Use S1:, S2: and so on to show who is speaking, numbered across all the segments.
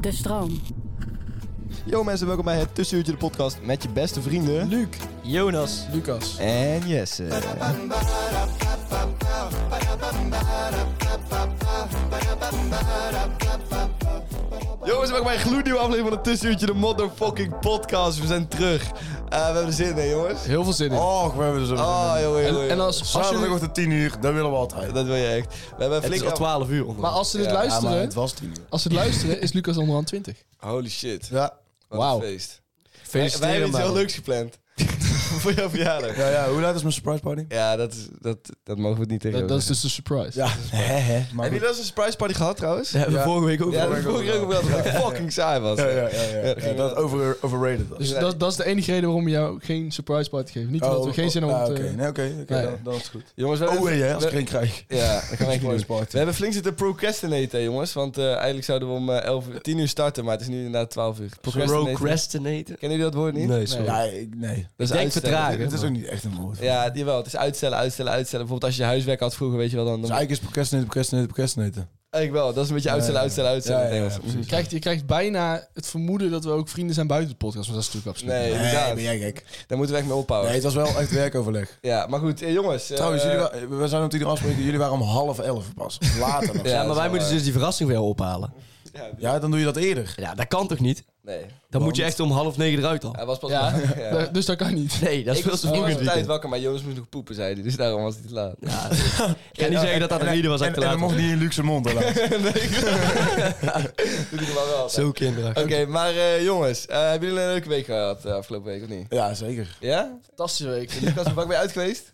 S1: De stroom.
S2: Yo mensen, welkom bij het Tussenuurtje de podcast met je beste vrienden... Luc, Jonas
S3: Lucas.
S2: en Jesse. Yo mensen, welkom bij een gloednieuwe aflevering van het Tussenuurtje de motherfucking podcast. We zijn terug. Eh, we hebben er zin in jongens.
S3: Heel veel zin in.
S4: Och, we hebben er zo.
S2: Oh jongen, jongen.
S3: en, en als, als jullie,
S4: Zaterdagochtend 10 uur, dat willen we altijd.
S2: Dat wil je echt. We hebben een
S4: Het
S2: flink
S4: is al 12 uur
S3: maar
S4: onderweg.
S3: als ze dit
S4: Ja, maar
S3: luisteren,
S4: het was 10 uur.
S3: als ze dit luisteren, is Lucas onderhand 20.
S2: Holy shit.
S4: Ja.
S2: Wat
S3: Wauw.
S2: een feest. Wij, wij
S4: Feliciteren
S2: hebben iets
S4: maar.
S2: heel leuks gepland. Voor jouw verjaardag.
S4: Ja, ja, hoe laat is mijn surprise party?
S2: Ja, dat, is, dat, dat mogen we het niet tegen.
S3: Dat, dat is dus de surprise.
S4: Ja, hè, hè. Maar
S2: Heb je dat als een surprise party gehad trouwens?
S4: hebben we vorige week ook
S2: Ja, dat is vorige keer ook wel dat het fucking saai was.
S4: Ja, ja, ja, ja.
S2: Ja, dat ging
S4: Ja, dat over, overrated was.
S3: Dus dat, dat is de enige reden waarom we jou geen surprise party geven. Niet omdat we geen zin hebben
S4: ah,
S3: om
S4: Oké,
S3: te...
S4: nee, oké, oké,
S3: Nee.
S4: dan, dan is het goed.
S2: Jongens, we
S4: Oh,
S2: hebben...
S4: hè, als ik
S2: we,
S4: geen krijg.
S2: ja, dat gaan we echt niet doen.
S4: Surprise
S2: We hebben flink zitten procrastinaten, jongens. Want eh, eigenlijk zouden we om eh, 11 uur, 10 uur starten, maar het is nu inderdaad 12 uur.
S5: Procrastinator?
S2: Kennen jullie dat woord niet?
S4: Nee,
S3: sorry.
S4: Ja, ik, nee.
S2: Dat is
S5: Ik denk
S2: uitstellen.
S5: vertragen.
S4: Het is ook niet echt een woord.
S2: Ja, jawel. Het is uitstellen, uitstellen, uitstellen. Bijvoorbeeld als je huiswerk had vroeger, weet je wel, dan...
S4: Dus
S2: dan
S4: eigenlijk is procrastinaten, procrastinaten, procrastinaten.
S2: eigenlijk wel. Dat is een beetje uitstellen,
S4: Ja, ja, ja.
S2: uitstellen, uitstellen
S4: Ja, ja, ja,
S2: in het Engels.
S3: Je krijgt, je krijgt bijna het vermoeden dat we ook vrienden zijn buiten de podcast. Maar dat is natuurlijk absoluut
S2: Nee,
S3: niet.
S4: Nee,
S2: inderdaad.
S4: ben jij gek.
S2: Daar moeten we echt mee ophouden.
S4: Nee, het was wel echt werkoverleg.
S2: Ja, maar goed, eh, jongens. eh,
S4: Trouwens, jullie wa- we zijn op die afspreken. Jullie waren om half elf pas. Later nog.
S2: Ja,
S4: ja.
S5: Ja, maar wij moeten dus die verrassing weer ophalen.
S4: dan doe je dat eerder.
S5: Ja, dat kan toch niet?
S2: Nee,
S5: Dan moet je echt om half negen eruit al.
S2: hij was pas...
S3: Ja,
S2: Ja.
S3: da- dus dat kan niet.
S5: Nee, dat is
S2: Ik
S5: veel
S2: was
S5: te
S2: ik was
S5: vroeg.
S2: op
S5: in het
S2: tijd
S5: weekend.
S2: wakker, maar Jonas moest nog poepen, zei hij. Dus daarom was hij te laat.
S5: Ja, dus- ik ga niet zeggen dat dat de reden was dat ik
S4: En,
S5: te
S4: en
S5: laat
S4: dat mocht
S5: was.
S4: niet in luxe mond. helaas.
S2: Doe die maar wel. altijd.
S5: Zo kinderachtig.
S2: Oké, maar eh, jongens, eh, hebben jullie een leuke week gehad eh, afgelopen week of niet?
S4: ja, zeker.
S2: Ja?
S3: Fantastische week.
S2: Lucas, hoe vaak ben je uit geweest?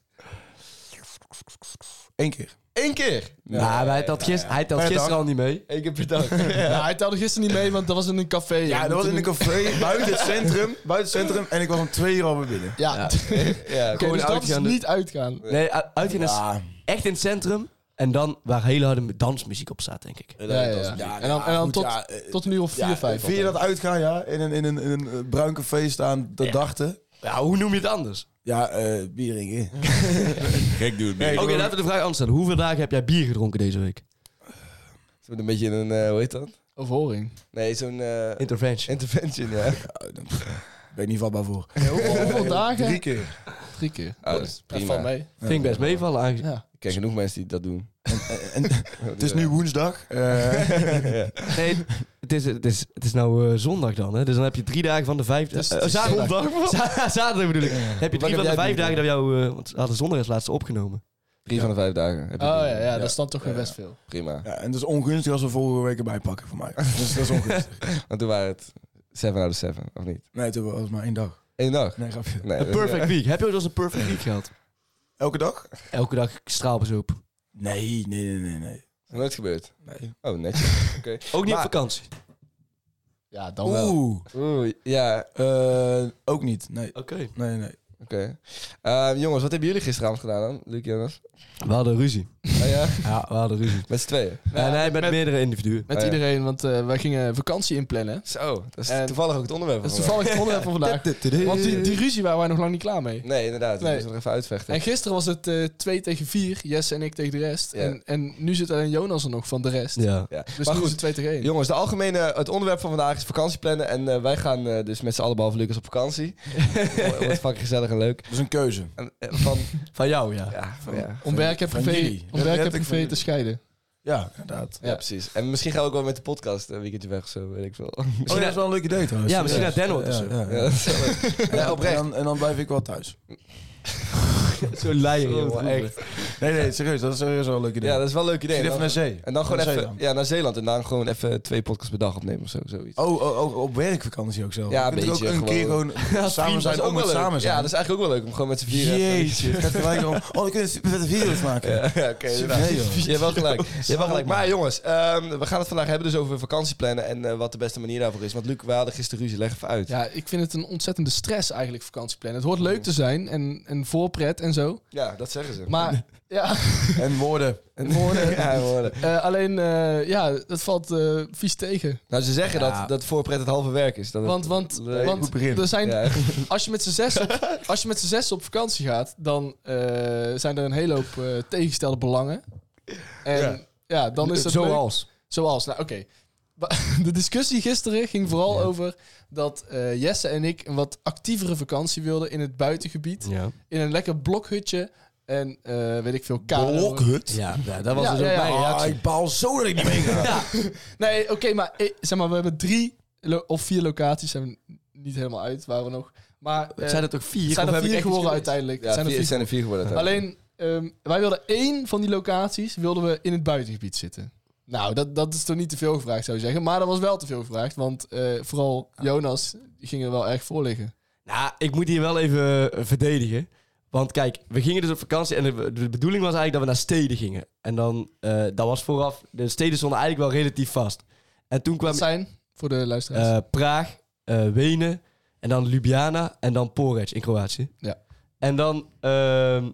S4: Eén keer.
S2: Eén keer!
S5: Nou, hij telt gisteren, hij telt
S4: Maar
S5: gisteren
S4: dag.
S5: al niet mee.
S2: Eén keer per dag. ja.
S3: Ja, hij telde gisteren niet mee, want dat was in een café.
S4: Ja, dat was in een café buiten het centrum. Buiten het centrum. En ik was om twee uur al weer binnen.
S3: Ja, ja.
S2: ja.
S5: Gewoon
S3: dus dat is
S5: uitgaan.
S3: niet uitgaan.
S5: Nee, u- uitgaan is
S4: Ja,
S5: echt in het centrum. En dan waar hele harde dansmuziek op staat, denk ik.
S3: Ja, ja, ja.
S4: ja,
S3: En dan, en dan
S4: goed,
S3: tot,
S4: ja, eh,
S3: tot een uur of vier,
S4: ja,
S3: vijf.
S4: Vind je dat uitgaan, ja? In een, in een, in een eh, bruin café staan, de dachten.
S5: Ja, hoe noem je het anders?
S4: Ja, eh bier drinken.
S2: Gek doen.
S5: Oké, laten we de vraag anders stellen. Hoeveel dagen heb jij bier gedronken deze week?
S2: Zo'n een beetje een, eh, hoe heet dat?
S3: Of horing.
S2: Nee, zo'n eh,
S5: Intervention.
S2: intervention, ja.
S4: Ja, dan ben ik niet vatbaar voor.
S3: Hoeveel, hoeveel dagen? Ah, dus
S4: Drie keer.
S3: Drie keer.
S2: Oh, dat is
S3: Dat
S2: prima.
S3: valt mee.
S5: Vind ik best meevallen eigenlijk.
S3: Ja.
S2: Ik ken genoeg mensen die dat doen.
S4: Het is nu woensdag. Eh,
S2: Oh, ja.
S5: Nee, het is, het is, het is nou eh, zondag dan, hè? Dus dan heb je drie dagen van de vijf...
S3: Dus
S5: eh,
S3: het is
S5: zaterdag. Za- zaterdag bedoel ik. Heb
S2: Wanneer
S5: je drie
S2: heb
S5: van de
S2: jij
S5: vijf
S2: drie
S5: dagen dat we jou... eh, want we hadden zondag als laatste opgenomen.
S2: Drie van de vijf dagen. Heb
S3: Oh
S2: je
S3: ja,
S2: drie.
S3: ja, dat is dan toch weer best veel.
S2: Prima.
S4: ja, en het is ongunstig als we vorige week erbij pakken voor mij. Dus dat is ongunstig.
S2: Want toen waren het seven out of seven, of niet?
S4: Nee, toen was het maar één dag.
S2: Eén dag.
S4: Nee, grapje.
S2: Nee,
S5: Een
S2: dat-
S5: perfect week. Heb je ooit als een perfect week gehad?
S4: Elke dag?
S5: Elke dag straalbezoop.
S4: Nee, nee, nee, nee. nee.
S2: Is nooit gebeurd.
S4: Nee.
S2: Oh, netjes. Oké.
S5: Ook niet
S2: Maar-
S5: op vakantie.
S3: Ja, dan wel.
S4: Oeh,
S2: Oeh, ja,
S4: eh, ook niet. Nee,
S5: Oké.
S4: nee, nee.
S2: oké. Eh, jongens, wat hebben jullie gisteravond gedaan dan, Luc Jonas?
S5: We hadden ruzie.
S6: Oh,
S2: Ah, ja?
S5: Ja, we hadden ruzie.
S2: Met z'n tweeën.
S5: nee, nee, met, meerdere individuen.
S3: Met
S2: Oh ja.
S3: iedereen, want eh, wij gingen vakantie inplannen.
S2: Zo, dat is
S3: En-
S2: toevallig ook het onderwerp.
S3: Dat is
S2: van vandaag.
S3: toevallig het onderwerp van vandaag. Want die, die ruzie waren wij nog lang niet klaar mee.
S2: Nee, inderdaad.
S3: Nee.
S2: We moeten nog even uitvechten.
S3: En gisteren was het eh, twee tegen vier, Jesse en ik tegen de rest.
S2: Ja.
S3: En, en nu zit alleen Jonas er nog van de rest.
S5: Ja.
S2: Ja. maar
S3: Dus nu is
S2: goed,
S3: het twee tegen één.
S2: jongens, de algemene, het onderwerp van vandaag is vakantieplannen. En eh, wij gaan eh, dus met z'n allen behalve Lucas op vakantie. Wordt fucking gezellig en leuk.
S4: Dat is een keuze.
S2: En, eh, van,
S5: Van jou, ja.
S2: ja, van, ja.
S3: Om werk en
S4: van
S3: privé,
S4: jullie.
S3: om
S4: Ja,
S3: werk en
S4: letterlijk van
S3: privé te
S4: jullie.
S3: scheiden.
S4: Ja, inderdaad.
S2: Ja, precies. En misschien gaan we ook wel met de podcast een weekendje weg of zo, weet ik veel.
S5: Oh,
S4: Misschien is wel een leuk idee trouwens.
S5: Ja, misschien naar Den Hoort of zo.
S4: Ja, ja,
S2: Ja,
S4: ja.
S2: dat is wel leuk. Ja,
S4: En
S2: oprecht.
S4: dan, en dan blijf ik wel thuis.
S5: Zo leier, jongen.
S2: Godverdomme.
S5: Echt.
S4: Nee, nee, serieus. Dat is serieus wel een leuk idee.
S2: Ja, dat is wel een leuk idee.
S4: Misschien
S2: En
S4: even
S2: dan-
S4: naar zee.
S2: En dan gewoon
S4: Naar
S2: even
S4: Zeeland.
S2: ja, naar Zeeland. En dan gewoon even twee podcasts per dag opnemen of zo, zoiets.
S4: Oh, oh, oh, op werkvakantie ook zo.
S2: Ja,
S4: Je kunt
S2: een
S4: er
S2: beetje
S4: ook een keer
S2: gewoon.
S4: gewoon samen zijn om het samen zijn.
S2: Ja, dat is eigenlijk ook wel leuk om gewoon met z'n vieren. even-
S4: Jeetje. Het gaat gelijk om, oh, dan kunnen we super vette video's maken.
S2: Ja, ja, oké. inderdaad.
S4: Nee, joh.
S2: je hebt wel gelijk. Je hebt wel gelijk. Maar jongens, ehm, we gaan het vandaag hebben dus over vakantieplannen en eh, wat de beste manier daarvoor is. Want Luc, we hadden gisteren ruzie. Leg even uit. Ja,
S3: Ja, ik vind het een ontzettende stress eigenlijk, vakantieplannen. Het hoort leuk te zijn en, en voorpret en zo.
S2: dat zeggen ze.
S3: Maar Oh. ja,
S4: En woorden.
S2: En woorden. Ja, woorden.
S3: eh, alleen eh, ja, dat valt eh, vies tegen.
S2: Nou, ze zeggen
S4: Ja.
S2: dat, dat voorpret het halve werk is. Dat het-
S3: Want, want,
S2: Nee,
S3: want
S4: goed begin.
S3: er zijn,
S2: Ja.
S3: als je met z'n zes op, als je met z'n zes op vakantie gaat, dan eh, zijn er een hele hoop eh, tegengestelde belangen. En ja, dan is het leuk.
S5: Zoals.
S3: Zoals, nou oké. Wa- De discussie gisteren ging vooral over dat eh, Jesse en ik een wat actievere vakantie wilden in het buitengebied.
S5: Ja.
S3: In een lekker blokhutje en eh, weet ik veel, kano.
S4: Blokhut.
S5: Ja, ja, dat was
S3: Ja,
S5: dus ook
S3: ja, ja.
S5: mijn
S4: Ah,
S5: reactie.
S4: ik baal zo dat ik niet mee ga.
S3: Nee, oké, maar eh, zeg maar, we hebben drie lo- of vier locaties. Zijn we niet helemaal uit, waren we nog. Maar eh,
S5: Zijn het ook vier?
S3: het zijn
S5: of
S3: er
S5: heb ik
S3: vier
S5: echt iets
S3: geworden
S5: gemist?
S3: uiteindelijk.
S2: Ja,
S3: Het zijn er
S2: vier-
S3: vier
S2: zijn er vier geworden. uiteindelijk.
S3: Alleen, ehm, wij wilden één van die locaties wilden we in het buitengebied zitten. Nou, dat, dat is toch niet te veel gevraagd, zou je zeggen. Maar dat was wel te veel gevraagd, want eh, vooral Jonas ging er wel erg voor liggen.
S5: Nou, ik moet hier wel even eh, verdedigen. Want kijk, we gingen dus op vakantie en de, de bedoeling was eigenlijk dat we naar steden gingen. En dan, eh, dat was vooraf, de steden stonden eigenlijk wel relatief vast. En toen kwam
S3: Dat zijn, voor de luisteraars.
S5: eh, Praag, eh, Wenen en dan Ljubljana en dan Poreč in Kroatië.
S3: Ja.
S5: En dan, ehm,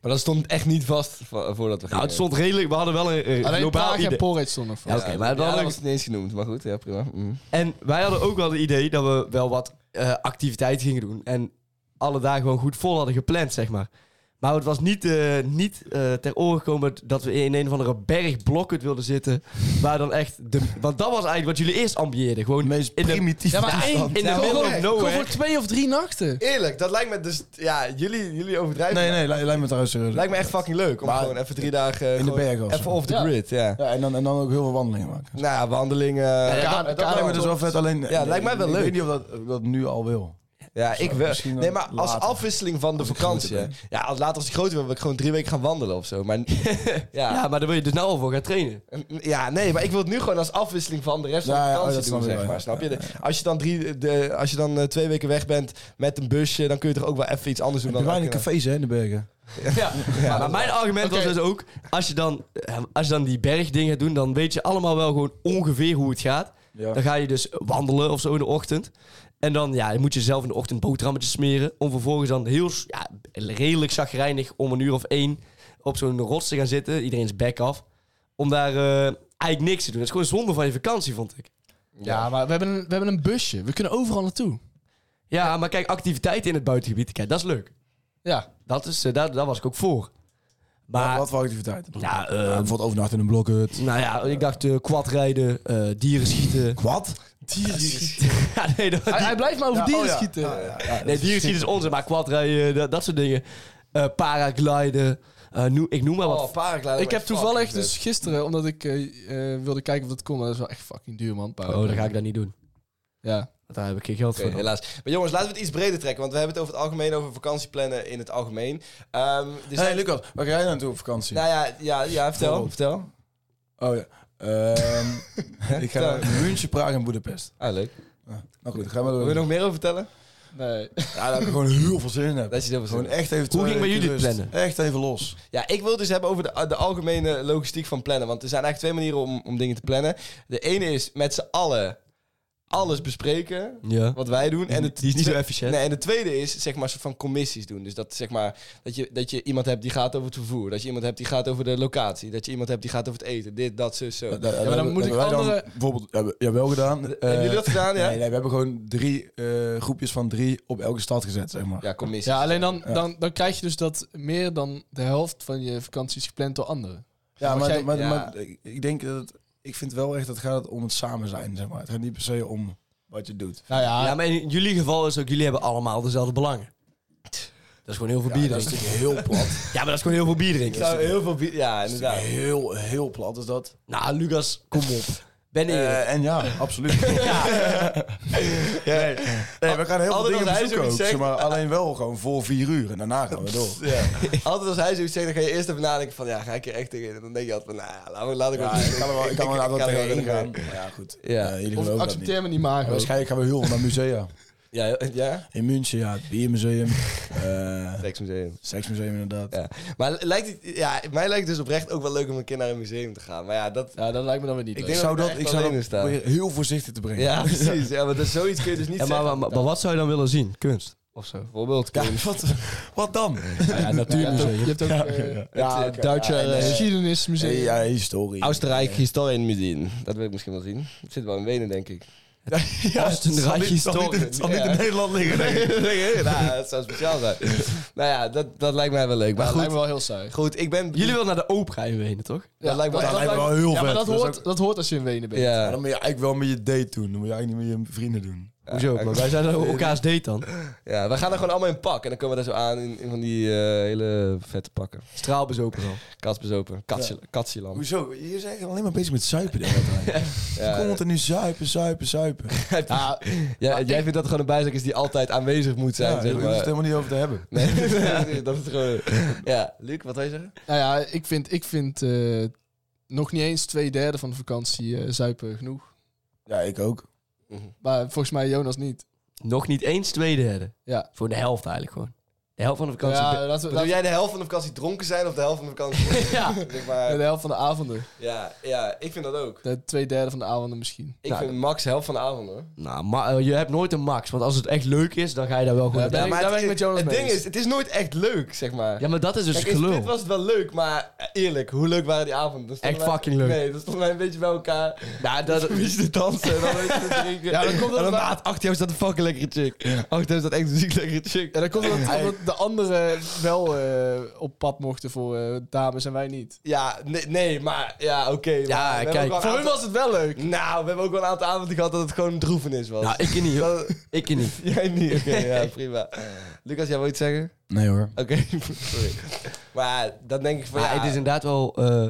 S2: Maar dat stond echt niet vast vo- voordat we gingen.
S5: nou het stond redelijk, we hadden wel een eh,
S3: Alleen
S5: globaal
S3: Praag en
S5: idee.
S3: Polreid stonden nog
S5: Ja,
S3: vast.
S5: oké, maar dan
S2: ja, dat was het niet eens genoemd. Maar goed, ja, prima. Mm.
S5: En wij hadden ook wel het idee dat we wel wat eh activiteiten gingen doen. En alle dagen gewoon goed vol hadden gepland, zeg maar. Maar het was niet, eh, niet eh, ter oren gekomen dat we in een of andere bergblokken wilden zitten. Waar dan echt de... Want dat was eigenlijk wat jullie eerst ambieerden. Gewoon
S4: Het meest
S5: in de-
S4: primitieve
S3: Ja, maar
S4: toestand.
S3: één-
S5: in de
S2: Ja,
S5: middle
S2: gewoon-
S5: of
S2: gewoon
S3: Gewoon
S5: nowhere.
S3: voor twee of drie nachten.
S2: Eerlijk, dat lijkt me dus... Ja, jullie, jullie overdrijven.
S4: Nee, nee, lij- lijkt me trouwens serieus.
S2: Lijkt me echt fucking leuk om
S4: Maar-
S2: gewoon even drie dagen...
S4: de
S2: gewoon
S4: bergen of zo.
S2: Even off the
S3: Ja.
S2: grid, ja.
S4: Ja, en dan, en dan ook heel veel wandelingen maken.
S2: Nou ja, wandelingen...
S3: ja,
S2: Ja,
S3: dat- dat
S4: lijkt
S3: Ja,
S4: me dus wel vet, alleen...
S2: Ja, lijkt mij wel
S4: Ik
S2: leuk.
S4: weet niet of dat, of dat nu al wil.
S2: ik
S4: Zo,
S2: wel.
S4: misschien
S2: Nee,
S4: dan
S2: maar als
S4: later.
S2: afwisseling van de
S4: Als ik
S2: vakantie.
S4: groter
S2: hè. Ja, als later als ik groter ben, wil ik gewoon drie weken gaan wandelen of zo. Maar ja.
S5: Ja, maar daar wil je dus nou al voor gaan trainen.
S2: Ja, nee, maar ik wil het nu gewoon als afwisseling van de rest van
S4: Ja,
S2: de
S4: ja,
S2: vakantie
S4: oh, dat
S2: doen,
S4: snap ik
S2: zeg
S4: wel,
S2: maar.
S4: ja.
S2: Snap je? Als je dan, drie, de, als je dan eh, twee weken weg bent met een busje, dan kun je toch ook wel even iets anders doen
S4: Er
S2: dan...
S4: weinig
S2: elke dag.
S4: cafés, hè, in de bergen.
S5: Ja. maar mijn argument
S3: Oké.
S5: was dus ook... Als je, dan, eh, als je dan die bergdingen doet, dan weet je allemaal wel gewoon ongeveer hoe het gaat. Dan ga je dus wandelen of zo in de ochtend. En dan, ja, dan moet je zelf in de ochtend boterhammetjes smeren. Om vervolgens dan heel, s- ja, redelijk zagrijnig om een uur of één op zo'n rots te gaan zitten. Iedereen's bek af. Om daar eh, eigenlijk niks te doen. Dat is gewoon zonde van je vakantie, vond ik.
S3: Ja, maar we hebben, een, we hebben een busje. We kunnen overal naartoe.
S5: Ja, maar kijk, activiteiten in het buitengebied, kijk, dat is leuk.
S3: Ja,
S5: Dat is, eh, daar, daar was ik ook voor. Maar,
S4: Wat- Wat voor activiteiten?
S5: ja, eh,
S4: Bijvoorbeeld overnachten in een blokhut.
S5: nou ja, ik dacht eh quadrijden, eh, dieren schieten.
S4: Wat?
S3: dieren schieten.
S5: ja, nee, dat,
S3: Hij, hij blijft maar over
S4: Ja,
S3: dieren
S4: oh ja.
S3: schieten.
S4: Ja, ja, ja,
S5: Nee,
S4: dat is-
S5: dierenschiet is dus onzin, maar quadrijden, dat, dat soort dingen. Eh paragliden, eh, noem- ik noem maar wat.
S2: Oh, paragliding,
S3: Ik heb
S2: fucking
S3: toevallig
S2: vet.
S3: dus gisteren, omdat ik eh, eh, wilde kijken of dat kon, maar dat is wel echt fucking duur, man.
S5: Oh, dan ga ik dat niet doen.
S3: Ja.
S5: Want daar heb ik geen geld
S2: Oké,
S5: voor.
S2: helaas. Maar jongens, laten we het iets breder trekken. Want we hebben het over het algemeen, over vakantieplannen in het algemeen. Ehm er
S4: Hey,
S2: zijn-
S4: Lucas, waar ga jij naartoe op vakantie?
S2: Nou ja, ja, ja vertel. vertel.
S4: Oh ja. Ehm, ik ga naar München, Praag en Boedapest.
S2: Ah, leuk.
S4: Ah, nou goed, gaan we
S2: Wil je
S4: door.
S2: er nog meer over vertellen?
S3: Nee.
S4: Ja, daar heb ik gewoon heel veel zin in. Heb.
S2: Dat is heel veel zin
S4: Gewoon
S2: in.
S4: echt even
S5: Hoe ging bij
S4: bij
S5: jullie het plannen?
S4: Echt even los.
S2: Ja, ik wil het dus hebben over de, de algemene logistiek van plannen. Want er zijn eigenlijk twee manieren om, om dingen te plannen. De ene is met z'n allen alles bespreken.
S5: Ja.
S2: Wat wij doen. En het
S5: Die is niet zo efficiënt.
S2: Nee, en de tweede is zeg maar een soort van commissies doen. Dus dat zeg maar dat je, dat je iemand hebt die gaat over het vervoer. Dat je iemand hebt die gaat over de locatie. Dat je iemand hebt die gaat over het eten. Dit, dat, zo, zo.
S4: Ja,
S3: dan moet ik andere-
S4: bijvoorbeeld, hebben ja, wel gedaan. eh,
S2: Hebben jullie dat gedaan? Ja,
S4: Nee, nee, we hebben gewoon drie eh, groepjes van drie op elke stad gezet, zeg maar.
S2: ja commissies.
S3: Ja, alleen dan, dan, dan krijg je dus dat meer dan de helft van je vakantie is gepland door anderen.
S4: Ja, maar,
S3: jij-
S4: maar,
S2: ja.
S4: maar ik- ik denk dat... het- ik vind wel echt dat het gaat om het samen zijn, zeg maar. Het gaat niet per se om wat je doet.
S3: Nou ja,
S5: ja, maar in jullie geval is ook, jullie hebben allemaal dezelfde belangen. Dat is gewoon heel veel bier
S4: Ja, dat is
S5: drinken.
S4: natuurlijk heel plat.
S5: Ja, maar dat is gewoon heel veel bier drinken.
S2: Ik zou heel veel... bi- Ja, inderdaad.
S4: Heel, heel plat is dat.
S5: Nou, Lucas, kom op. Ben Erik.
S4: Eh, en ja, absoluut.
S5: Nee.
S4: Nee, we gaan heel veel
S5: Altijd
S4: dingen
S5: als hij
S4: bezoeken
S5: zoiets
S4: ook,
S5: zegt-
S4: zeg maar, alleen wel gewoon voor vier uur en daarna gaan we door.
S2: Altijd als hij zoiets zegt, dan ga je eerst even nadenken van, ja, ga ik hier echt tegen? En dan denk je altijd van, nou, laat, laat ik
S4: Ja,
S2: wel-
S4: ik kan er wel, ik kan er wel
S2: kan er
S4: tegen
S2: wel
S4: ingaan. Maar ja, goed.
S2: Ja.
S4: Eh, jullie
S3: Of
S4: geloven dat niet.
S3: accepteer me niet maar.
S4: Ja, waarschijnlijk gaan we heel veel naar musea.
S2: Ja, ja.
S4: In München, ja, het biermuseum. eh,
S2: Rijksmuseum.
S4: seksmuseum inderdaad.
S2: Ja. Maar lijkt het, ja, mij lijkt het dus oprecht ook wel leuk om een keer naar een museum te gaan. Maar ja, dat...
S3: Ja, dat lijkt me dan weer niet.
S2: Ik
S3: leuk.
S4: Ik
S2: denk
S4: zou
S2: dat ik er
S4: dat, ik
S2: echt
S4: zou
S2: alleen
S4: dat
S2: in sta.
S4: proberen heel voorzichtig te brengen.
S2: Ja, precies. Ja, maar dat, zoiets kun je dus niet
S5: Ja, maar,
S2: zeggen.
S5: maar, Eh, maar wat zou je dan willen zien? Kunst of zo?
S2: Bijvoorbeeld
S4: Ja,
S2: kunst.
S4: wat, wat dan?
S3: Ja, natuurmuseum. Je hebt ook,
S4: Ja,
S3: eh,
S4: ja.
S2: Ja,
S3: het, eh,
S2: Duitse
S3: ja, en, eh,
S2: eh,
S3: geschiedenismuseum.
S4: Hey, ja, historie.
S2: Oostenrijk
S5: eh,
S2: Historienmuseum. Dat wil ik misschien wel zien. Het zit wel in Wenen, denk ik.
S4: Ja,
S5: Oostenrijk
S4: het zal niet- het zal niet-
S5: historie.
S4: Het zal niet in Nederland liggen. denk ik.
S2: nou, dat zou speciaal zijn. nou ja, dat, dat lijkt mij wel leuk. Maar
S3: dat lijkt
S2: goed,
S3: me wel heel saai.
S2: goed, ik ben...
S5: Jullie willen naar de opera in Wenen, toch?
S2: dat lijkt me
S4: Dat lijkt me wel heel
S3: Ja, maar
S4: vet.
S3: dat
S4: is
S3: hoort,
S4: ook-
S3: dat hoort als je in Wenen bent.
S4: Maar
S2: Ja,
S4: dan moet je eigenlijk wel met je date doen. Dan moet je eigenlijk niet met je vrienden doen.
S5: Hoezo? Maar wij zijn elkaars date dan.
S2: ja, we gaan er gewoon allemaal in pak. En dan komen we daar zo aan in, in van die eh, hele vette pakken.
S5: Straalbezopen dan.
S2: Katsbezopen. Katsilam.
S4: Hoezo? Je bent alleen maar bezig met zuipen. de hele tijd.
S2: Ja.
S4: Continu zuipen, zuipen, zuipen.
S3: Ja,
S2: Ja, jij vindt dat het gewoon een bijzaak is die altijd aanwezig moet zijn,
S4: Ja, daar
S2: zeg
S4: hoef je het
S2: maar.
S4: helemaal niet over te hebben.
S2: Nee, dat is gewoon... Ja, Luc, wat wil je zeggen?
S3: nou ja, ik vind, ik vind eh, nog niet eens twee derde van de vakantie eh, zuipen genoeg.
S4: Ja, ik ook.
S3: Maar volgens mij Jonas niet.
S5: Nog niet eens twee derde.
S3: Ja.
S5: Voor de helft eigenlijk gewoon. De helft van de vakantie.
S3: ja, laten we,
S2: Wil
S3: laten
S2: jij de helft van de vakantie dronken zijn of de helft van de vakantie...
S5: Ja.
S2: zeg
S3: we- de
S2: maar,
S3: helft van de avonden.
S2: ja, ja, ik vind dat ook.
S3: De twee derde van de avonden misschien.
S2: Ik
S5: Nou,
S2: vind max helft van de avond, hoor.
S5: Nou, maar eh, je hebt nooit een max. Want als het echt leuk is, dan ga je daar wel gewoon
S3: Ja,
S5: naartoe.
S3: ben ik- daar ben ik met Jonas
S2: Het
S3: mee
S2: ding
S3: eens.
S2: is, het is nooit echt leuk, zeg maar.
S5: Ja, maar dat is dus
S2: Kijk,
S5: het
S2: in
S5: gelul.
S2: Split was het wel leuk, maar eh, eerlijk, hoe leuk waren die avonden? Dan stonden
S5: Echt
S2: wij-
S5: fucking leuk.
S2: Nee, dat stonden wij een beetje bij elkaar.
S5: Nou, dat...
S2: Een beetje te dansen en dan een beetje te drinken.
S3: Ja, dan komt dat
S2: en dan
S3: wel-
S2: na acht jaar staat een fucking lekkere chick. Acht jaar staat echt een ziek lekkere chick.
S3: En dan komt het omdat- omdat de anderen wel eh, op pad mochten voor eh, dames en wij niet.
S2: Ja, nee, nee maar ja, oké.
S5: Ja,
S2: maar we hebben
S5: kijk,
S2: ook wel een
S5: voor hun
S2: aantal-
S3: Was het wel leuk?
S2: Nou, we hebben ook wel een aantal avonden gehad dat het gewoon een droevenis was.
S5: Nou, ik niet. hoor.
S2: Dat-
S5: Ik niet.
S2: Jij niet, oké, ja, prima. Lucas, jij wil iets zeggen?
S4: Nee hoor.
S2: Oké, sorry. Maar dan denk ik van,
S5: Maar
S2: ja,
S5: het is inderdaad wel... eh,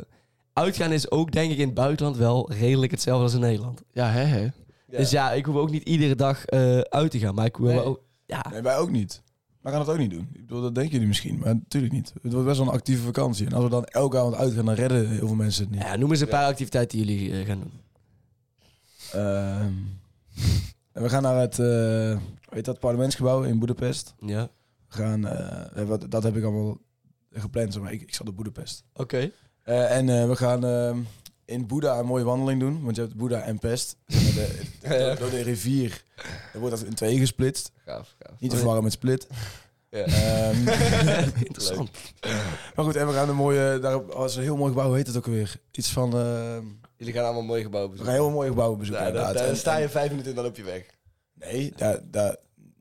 S5: uitgaan is ook, denk ik, in het buitenland wel redelijk hetzelfde als in Nederland.
S3: Ja, hè, hè.
S2: Ja.
S5: Dus ja, ik hoef ook niet iedere dag eh, uit te gaan. Maar ik wil
S3: Nee.
S5: wel ook... Ja.
S4: Nee, wij ook niet. Wij gaan dat ook niet doen. Ik bedoel, dat denken jullie misschien, maar natuurlijk niet. Het wordt best wel een actieve vakantie. En als we dan elke avond uitgaan, dan redden heel veel mensen het niet.
S5: ja, noem eens een paar activiteiten die jullie eh, gaan doen.
S4: Ehm, en we gaan naar het, eh weet dat, parlementsgebouw in Boedapest.
S5: Ja.
S4: We gaan, eh, eh, wat, dat heb ik allemaal gepland, zeg maar ik, ik zat op Boedapest.
S5: Oké.
S4: Eh, en eh, we gaan ehm, in Boeddha een mooie wandeling doen, want je hebt Boeddha en Pest. De- door, door de rivier dan wordt dat in tweeën gesplitst.
S2: gaaf, gaaf.
S4: Niet te verwarren met Split.
S2: Ja.
S4: Ehm,
S5: Interessant.
S4: maar goed, en we gaan een mooie, daar was een heel mooi gebouw, hoe heet het ook alweer? Iets van, ehm,
S2: Jullie gaan allemaal mooie gebouwen
S4: we gaan
S2: bezoeken.
S4: heel mooie gebouwen
S2: Ja,
S4: bezoeken.
S2: daar- daar,
S4: inderdaad.
S2: daar sta
S4: En-
S2: je
S4: en-
S2: vijf minuten en dan op je weg.
S4: Nee, daar, daar,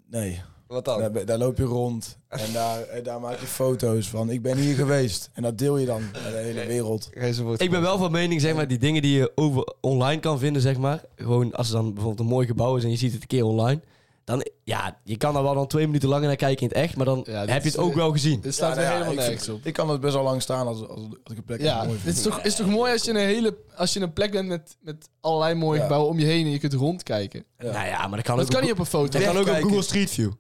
S4: nee.
S2: Wat dan?
S4: Daar, ben- daar loop je rond en daar, eh, daar maak je foto's van. Ik ben hier geweest. En dat deel je dan met de hele wereld.
S2: Geen woord.
S5: Ik ben wel van mening, zeg maar, die dingen die je over online kan vinden, zeg maar. Gewoon als er dan bijvoorbeeld een mooi gebouw is en je ziet het een keer online. Dan, ja, je kan daar wel dan twee minuten langer naar kijken in het echt, maar dan
S3: Ja, dit
S5: heb je het
S3: is-
S5: ook wel gezien.
S3: Dit staat
S4: Ja, nou
S3: er
S4: ja,
S3: helemaal
S4: ik
S3: nergens
S4: vind-
S3: op.
S4: Ik kan het best wel lang staan als, als, als ik een plek
S3: Ja,
S4: mooi
S3: het
S4: vind.
S3: is toch, is toch mooi als je een, hele, als je een plek bent met, met allerlei mooie
S4: Ja.
S3: gebouwen om je heen en je kunt rondkijken.
S4: Ja.
S5: Nou ja, maar dat kan
S3: Dat
S5: ook,
S3: kan
S5: op,
S3: niet op een foto.
S5: dat kan ook op
S4: Wegkijken.
S5: Google Street View.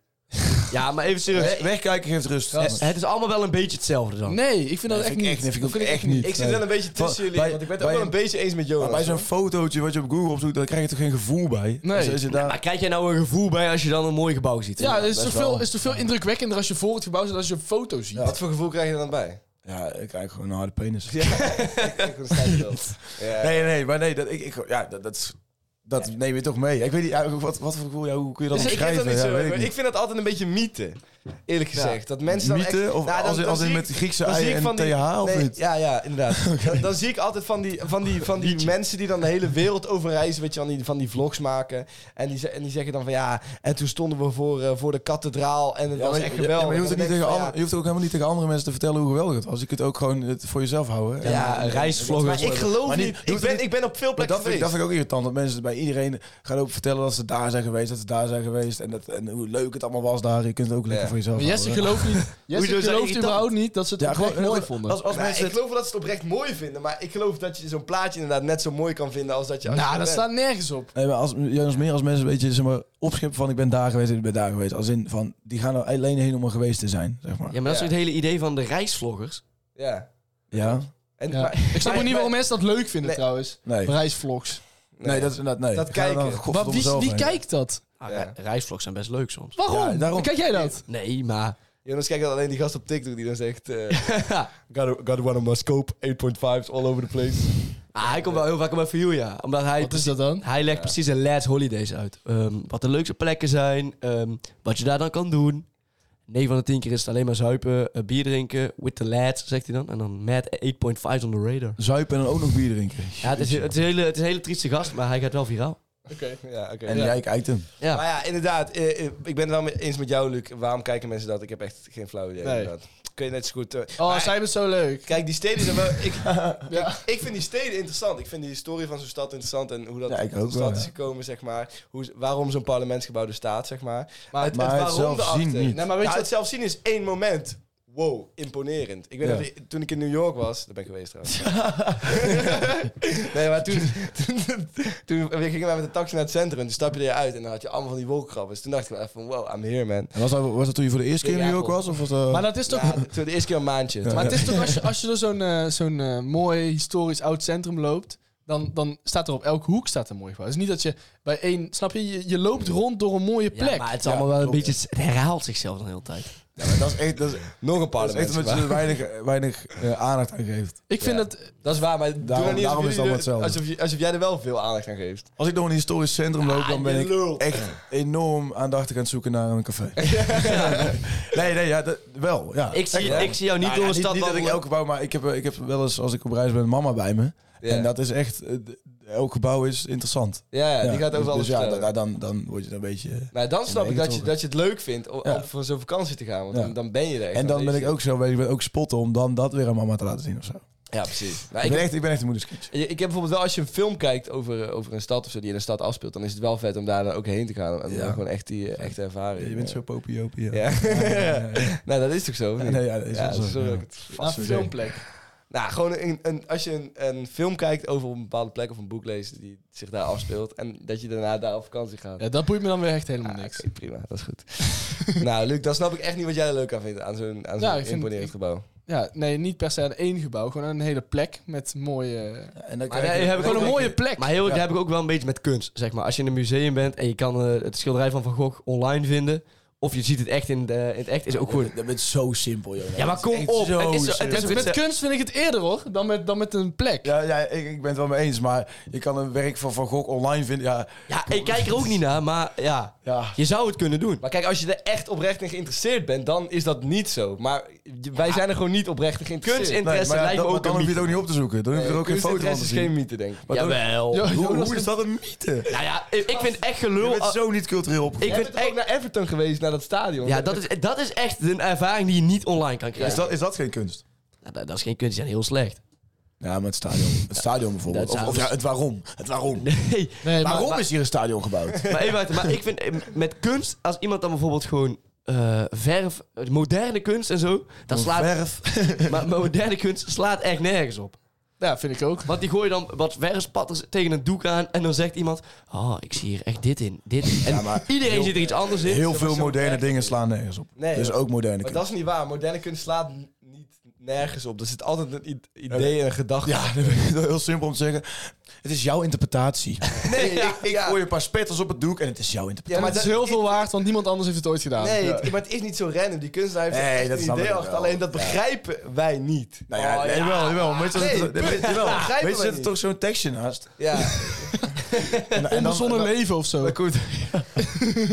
S5: ja, maar even serieus.
S4: Weg- Wegkijken geeft rust.
S3: Ja,
S4: Dat
S5: Het is allemaal wel een beetje hetzelfde dan.
S3: Nee, ik vind dat
S4: vind
S3: echt
S4: ik
S3: niet.
S4: echt niet. Vind ik
S3: Dat
S4: ook echt niet.
S2: Ik zit
S4: Nee.
S2: wel een beetje
S4: Van-
S2: tussen jullie,
S4: bij-
S2: want ik ben het ook
S4: bij-
S2: wel een beetje eens met Jonas.
S4: Maar bij zo'n
S2: hoor.
S4: fotootje wat je op Google opzoekt, daar krijg je toch geen gevoel bij?
S3: Nee.
S4: Dus als je daar...
S5: Maar krijg jij nou een gevoel bij als je dan een mooi gebouw ziet?
S3: Ja, het is,
S4: best
S3: toch veel,
S4: wel.
S3: is toch veel indrukwekkender als je voor het gebouw zit als je een foto ziet.
S4: Ja.
S2: Wat voor gevoel krijg je er dan bij?
S4: Ja, ik krijg gewoon een harde penis.
S2: Ik versta het wel. Ja.
S4: Nee, nee, maar nee, dat, ik, ik, ja, dat, dat, is- dat neem je toch mee. Ik weet niet, ja, wat, wat voor gevoel, ja, hoe kun je dat
S2: Dus ik heb dat
S4: omschrijven?
S2: niet
S4: Ja,
S2: zo.
S4: weet
S2: ik,
S4: niet.
S2: vind dat altijd een beetje mythe. Eerlijk gezegd. Dat mensen dan
S4: Mythe?
S2: echt... Nou,
S4: Of
S2: dan-
S4: als in-
S2: dan
S4: als in
S2: zie
S4: met
S2: ik-
S4: Griekse
S2: dan
S4: ei
S2: zie ik
S4: en
S2: van die-
S4: TH of
S2: nee,
S4: niet?
S2: Ja, ja, inderdaad. dan, dan zie ik altijd van die, van die, van die mensen die dan de hele wereld overreizen. Weet je, van die, van die vlogs maken. En die, ze- en die zeggen dan van ja... En toen stonden we voor, eh, voor de kathedraal en het
S4: Ja,
S2: was
S4: maar,
S2: echt
S4: ja, maar
S2: geweldig.
S4: je, hoeft
S2: En
S4: ook niet
S2: dan
S4: tegen
S2: denk ik van,
S4: andere- je hoeft ook helemaal niet tegen andere mensen te vertellen hoe geweldig het was. Je kunt ook gewoon het voor jezelf houden.
S5: Ja,
S4: En-
S5: ja, reisvloggers.
S2: Maar ik geloof
S4: Maar niet-
S2: niet.
S4: doe
S2: Ik
S4: het
S2: ben,
S4: niet-
S2: ik ben op veel
S4: Maar
S2: plekken
S4: dat vind, ik, dat
S2: geweest.
S4: vind ik ook irritant. Dat mensen bij iedereen gaan ook vertellen dat ze daar zijn geweest. Dat ze daar zijn geweest. En, dat, en hoe leuk het allemaal was daar. Je kunt het ook lekker
S2: Ja.
S4: voor jezelf.
S3: Maar Jesse
S4: houden.
S3: gelooft, niet,
S5: Hoezo
S3: Jesse
S5: zijn
S3: gelooft
S5: irritant?
S3: überhaupt niet dat ze het
S4: Ja,
S3: oprecht
S4: gewoon-
S3: mooi vonden.
S4: Als, als
S2: Ja,
S4: mensen
S2: ik geloof wel dat ze het oprecht mooi vinden, maar ik geloof dat je zo'n plaatje inderdaad net zo mooi kan vinden als dat je... als je
S3: nou, dat
S2: bent.
S3: staat nergens op.
S4: Nee, maar als, juist meer als mensen een beetje zeg maar, opschippen van ik ben daar geweest en ik ben daar geweest. Als in van, die gaan er alleen heen om er geweest te zijn, zeg maar.
S5: Ja, maar dat is
S2: Ja.
S5: toch het hele idee van de reisvloggers.
S2: Ja.
S4: Ja?
S2: En,
S3: Ja.
S2: maar-
S3: Ik snap ook
S2: maar-
S3: niet waarom mensen dat leuk vinden
S2: Nee.
S3: trouwens.
S4: Nee.
S3: Reisvlogs.
S4: Nee, dat is inderdaad, nee.
S2: Dat
S4: Ga er dan
S2: kijken.
S4: godverdomme
S3: Maar wie,
S4: zelf
S3: wie
S4: heen.
S3: kijkt dat?
S5: Ah,
S2: Ja.
S5: re- Reisvlogs zijn best leuk soms.
S3: Waarom?
S4: Ja, daarom.
S3: Kijk jij dat?
S5: Nee, maar...
S2: Jonas kijkt alleen die gast op TikTok die dan zegt... eh gotta, gotta one on my scope, 8.5's all over the place.
S5: Ah, hij komt wel heel vaak op mijn view, ja. Omdat hij...
S3: Wat is dat dan?
S5: Hij legt precies een Last Holidays uit. Ehm, wat de leukste plekken zijn, ehm, wat je daar dan kan doen. 9 van de 10 keer is het alleen maar zuipen, eh, bier drinken, with the lads, zegt hij dan. En dan mad 8.5 on the radar.
S4: Zuipen en dan ook nog bier drinken.
S5: Ja, het is, het is, een hele, het is een hele trieste gast, maar hij gaat wel viraal.
S2: Oké, ja, oké.
S4: En
S2: Ja.
S4: jij kijkt hem.
S5: Ja.
S2: Maar ja, inderdaad. eh, eh, ik ben het wel mee eens met jou, Luc. Waarom kijken mensen dat? Ik heb echt geen flauw idee.
S3: Nee.
S2: inderdaad. Kun je net zo goed... eh,
S3: Oh,
S2: maar-
S3: zij hebben zo leuk.
S2: Kijk, die steden zijn wel... Ik,
S3: Ja.
S2: ik vind die steden interessant. Ik vind die historie van zo'n stad interessant. En hoe dat
S4: Ja, ik
S2: tot
S4: ook
S2: stand
S4: wel,
S2: is
S4: ja.
S2: gekomen, zeg maar. Hoe, waarom zo'n parlementsgebouw er staat, zeg maar. Maar het,
S4: maar het
S2: waarom
S4: zelf
S2: erachter.
S4: zien niet.
S3: Nee, maar weet
S2: ja,
S3: je
S2: het zelf zien is één moment. Wow, imponerend. Ik weet
S4: Ja.
S2: nog dat ik- toen ik in New York was, daar ben ik geweest trouwens. nee, maar toen, toen, toen we gingen wij met de taxi naar het centrum. Toen stap je eruit en dan had je allemaal van die wolkenkrabbers. Toen dacht ik wel even van, wow, I'm here man.
S4: En was, dat, was dat toen je voor de eerste keer in New York was? Of was dat...
S3: Maar dat is toch...
S2: Ja, toen de eerste keer een maandje. Toen-
S3: Maar het is toch, als je, als je door zo'n eh, zo'n eh, mooi historisch oud centrum loopt, dan, dan staat er op elke hoek staat een mooi gebouw. Het is niet dat je bij één, snap je, je, je loopt rond door een mooie
S5: Ja,
S3: plek.
S5: maar het is
S4: Ja,
S5: allemaal wel een
S4: klopt,
S5: beetje... Het herhaalt zichzelf dan de hele tijd.
S4: Ja, maar dat is echt... Dat is,
S2: Nog een
S4: dat is echt omdat je
S2: parlementsgebouw.
S4: er weinig, weinig eh, aandacht aan geeft.
S3: ik vind
S2: Ja.
S3: dat,
S2: Dat is waar, maar doe
S4: Daarom-
S2: nou niet alsof
S4: daarom is het
S2: jullie
S4: allemaal
S2: er-
S4: hetzelfde.
S2: Alsof, je- alsof jij er wel veel aandacht aan geeft.
S4: Als ik door een historisch centrum loop, dan ben
S2: je
S4: ik
S2: lul.
S4: echt enorm aandachtig aan het zoeken naar een café. nee, nee, ja, dat, wel. Ja.
S5: Ik zie,
S4: Echt wel.
S5: ik zie jou niet
S4: Nou
S5: door
S4: ja,
S5: een stad
S4: niet dat ik
S5: wandelen.
S4: elk gebouw, maar ik heb, eh, ik heb wel eens, als ik op reis ben, mama bij me.
S2: Ja.
S4: En dat is echt, eh, d- elk gebouw is interessant.
S2: Ja, ja, die
S4: Ja,
S2: gaat over alles
S4: Dus ja,
S2: vertellen.
S4: da- dan, dan word je er een beetje...
S2: eh, Nou, dan snap ik dat je,
S4: ingetrokken.
S2: dat je het leuk vindt om,
S4: Ja.
S2: om voor zo'n vakantie te gaan. Want
S4: Ja.
S2: dan, dan ben je er echt.
S4: En dan ben
S2: aanwezig.
S4: ik ook zo bezig met ook spotten om dan dat weer aan mama te laten zien of zo.
S2: Ja, precies. Nou,
S4: Ik
S2: ik,
S4: ben echt, ik ben echt een moederskindje.
S2: ik heb bijvoorbeeld wel, als je een film kijkt over, eh, over een stad of zo die in een stad afspeelt, dan is het wel vet om daar dan ook heen te gaan. En dan
S4: Ja.
S2: gewoon echt die eh, echte
S5: Oh,
S2: ervaring.
S4: Je bent zo popiopie.
S2: Ja.
S4: ja, ja.
S2: nou, dat is toch zo? of niet?
S4: Nee, ja, dat is
S2: Ja,
S4: wel zo.
S2: sorry
S4: ja.
S2: dat ik het-
S3: een
S4: zo.
S3: filmplek.
S2: Nou, gewoon een, een, als je een, een film kijkt over een bepaalde plek of een boek leest die zich daar afspeelt en dat je daarna daar op vakantie gaat.
S3: Ja, dat boeit me dan weer echt helemaal
S2: Ah,
S3: niks.
S2: oké, prima, dat is goed. nou, Luc, dan snap ik echt niet wat jij er leuk aan vindt aan zo'n aan zo'n
S3: Nou, ik vind-
S2: imponerend gebouw.
S3: Ja, nee, niet per se aan één gebouw, gewoon aan een hele plek met mooie...
S4: En dan
S5: Maar
S4: krijg
S5: nee,
S4: je-
S5: heb ik
S3: Gewoon
S5: ook
S3: een
S5: wel-
S3: mooie plek.
S5: Maar heel eerlijk, daar heb ik ook wel een beetje met kunst. Zeg maar. Als je in een museum bent en je kan eh, het schilderij van Van Gogh online vinden... of je ziet het echt in, de, in het echt, is ook goed.
S4: Dat bent zo simpel, joh.
S5: Ja,
S4: Dat
S5: maar
S4: is
S5: kom
S4: echt
S5: op.
S4: zo
S5: Het is zo-
S4: simpel.
S5: het is-
S3: Met, met kunst vind ik het eerder hoor, dan met, dan met een plek.
S4: Ja, ja ik, ik ben het wel mee eens, maar je kan een werk van Van Gogh online vinden. Ja,
S5: Ja, ik kijk er ook niet naar, maar ja,
S4: ja.
S5: je zou het kunnen doen.
S2: Maar kijk, als je er echt oprecht in geïnteresseerd bent, dan is dat niet zo. Maar je- wij zijn er gewoon niet oprecht in geïnteresseerd.
S5: Kunst in-
S4: Nee,
S5: Interesse
S4: maar ja,
S5: lijkt me
S4: dat-
S5: ook
S4: maar dan
S5: een
S4: hoef
S5: Eh,
S4: je het ook niet op te zoeken. Dan hoef je er ook geen foto van te
S2: Kunstinteresse is geen mythe,
S4: zien.
S2: denk ik.
S4: Maar dan-
S5: Jawel.
S3: Ja,
S4: Hoe,
S3: Jonas
S4: hoe is dat een mythe?
S5: Nou ja, ik, ik vind echt
S4: Je
S5: gelul...
S4: bent zo niet cultureel opgevoed.
S5: Ik
S2: Ik
S5: vind
S2: ben ook
S5: echt...
S2: naar Everton geweest, naar dat stadion.
S5: Ja, dat is, dat is echt een ervaring die je niet online kan
S4: Is,
S5: krijgen.
S4: dat, is dat geen kunst?
S5: Nou, dat, dat is geen kunst, die zijn heel slecht.
S4: Ja, maar het stadion. Het stadion bijvoorbeeld.
S5: Dat
S4: Of,
S5: zou-
S4: of ja, het waarom. Het waarom.
S5: Nee,
S3: Nee, maar,
S4: waarom is hier een stadion gebouwd?
S5: maar even uit, maar ik vind eh, met kunst, als iemand dan bijvoorbeeld gewoon eh, verf, eh, moderne kunst en zo, dan slaat,
S4: Verf.
S5: maar moderne kunst slaat echt nergens op.
S3: ja, vind ik ook.
S5: Want die gooien dan wat verfspatters tegen een doek aan en dan zegt iemand, oh, ik zie hier echt dit in, dit in." En
S4: Ja, maar
S5: iedereen ziet er iets anders in.
S4: Heel
S2: is
S4: veel
S2: zo
S4: moderne
S2: erg.
S4: dingen slaan nergens op.
S2: Nee,
S4: dus
S2: joh.
S4: ook moderne
S2: maar
S4: kunst.
S2: dat is niet waar. Moderne kunst slaat n- niet nergens op. Er zit altijd een i- idee en een gedachte.
S4: Ja, dat vind ik heel simpel om te zeggen. Het is jouw interpretatie.
S2: nee, ik, ik
S4: Gooi een paar spetters op het doek en het is jouw interpretatie.
S2: Ja, maar
S3: maar het is
S2: dat-
S3: heel veel waard, want niemand anders heeft het ooit gedaan.
S2: Nee, het- maar het is niet zo random. Die kunstenaar heeft
S4: Nee,
S2: echt
S4: dat
S2: een
S4: snap
S2: idee
S4: ik
S2: achter.
S4: wel.
S2: Alleen dat begrijpen wij niet.
S4: Nou ja, nee, jawel, jawel. Weet je,
S2: Nee,
S4: dat-
S2: punt.
S4: weet je, jawel.
S2: Dat begrijpen
S4: Weet je,
S2: we
S4: er zit
S2: niet.
S4: toch zo'n tekstje naast.
S2: Ja,
S4: En, en
S3: Onbezonnen leven of zo.
S4: Goed.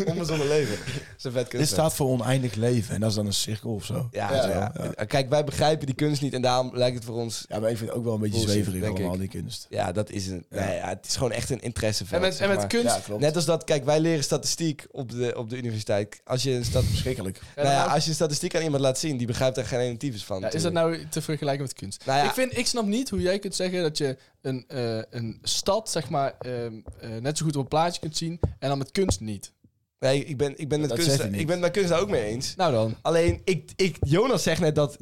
S2: onbezonnen leven. Dat is een vet
S4: Dit
S2: kunstenaar.
S4: staat voor oneindig leven en dat is dan een cirkel of zo.
S2: Ja,
S4: Weet je
S2: ja,
S4: wel,
S2: ja. Kijk, wij begrijpen die kunst niet en daarom lijkt het voor ons...
S4: Ja, maar ik vind het ook wel een beetje
S2: Bullshit,
S4: zweverig
S2: denk
S4: allemaal,
S2: ik.
S4: die kunst.
S2: Ja, dat is een... Nee, ja, het is gewoon echt een
S3: En
S2: interesseveld.
S3: met, en
S2: zeg
S3: met
S2: maar.
S3: kunst.
S4: Ja, klopt.
S2: Net als dat, kijk, wij leren statistiek op de, op de universiteit. Als je, een stat
S4: Verschrikkelijk.
S3: Ja,
S2: nou ja,
S3: dan ook-
S2: als je een statistiek aan iemand laat zien, die begrijpt daar geen tyfus van.
S3: Ja, is dat
S2: natuurlijk.
S3: nou te vergelijken met kunst?
S2: Nou ja.
S3: ik, vind, ik snap niet hoe jij kunt zeggen dat je een, eh, een stad, zeg maar, ehm, eh, net zo goed op een plaatje kunt zien en dan met kunst niet.
S2: Nee, ik ben, ik ben, met,
S4: Dat
S2: kunst,
S4: zegt hij niet.
S2: ik ben met kunst daar ook mee eens.
S3: Nou dan.
S2: Alleen, ik, ik, Jonas zegt net dat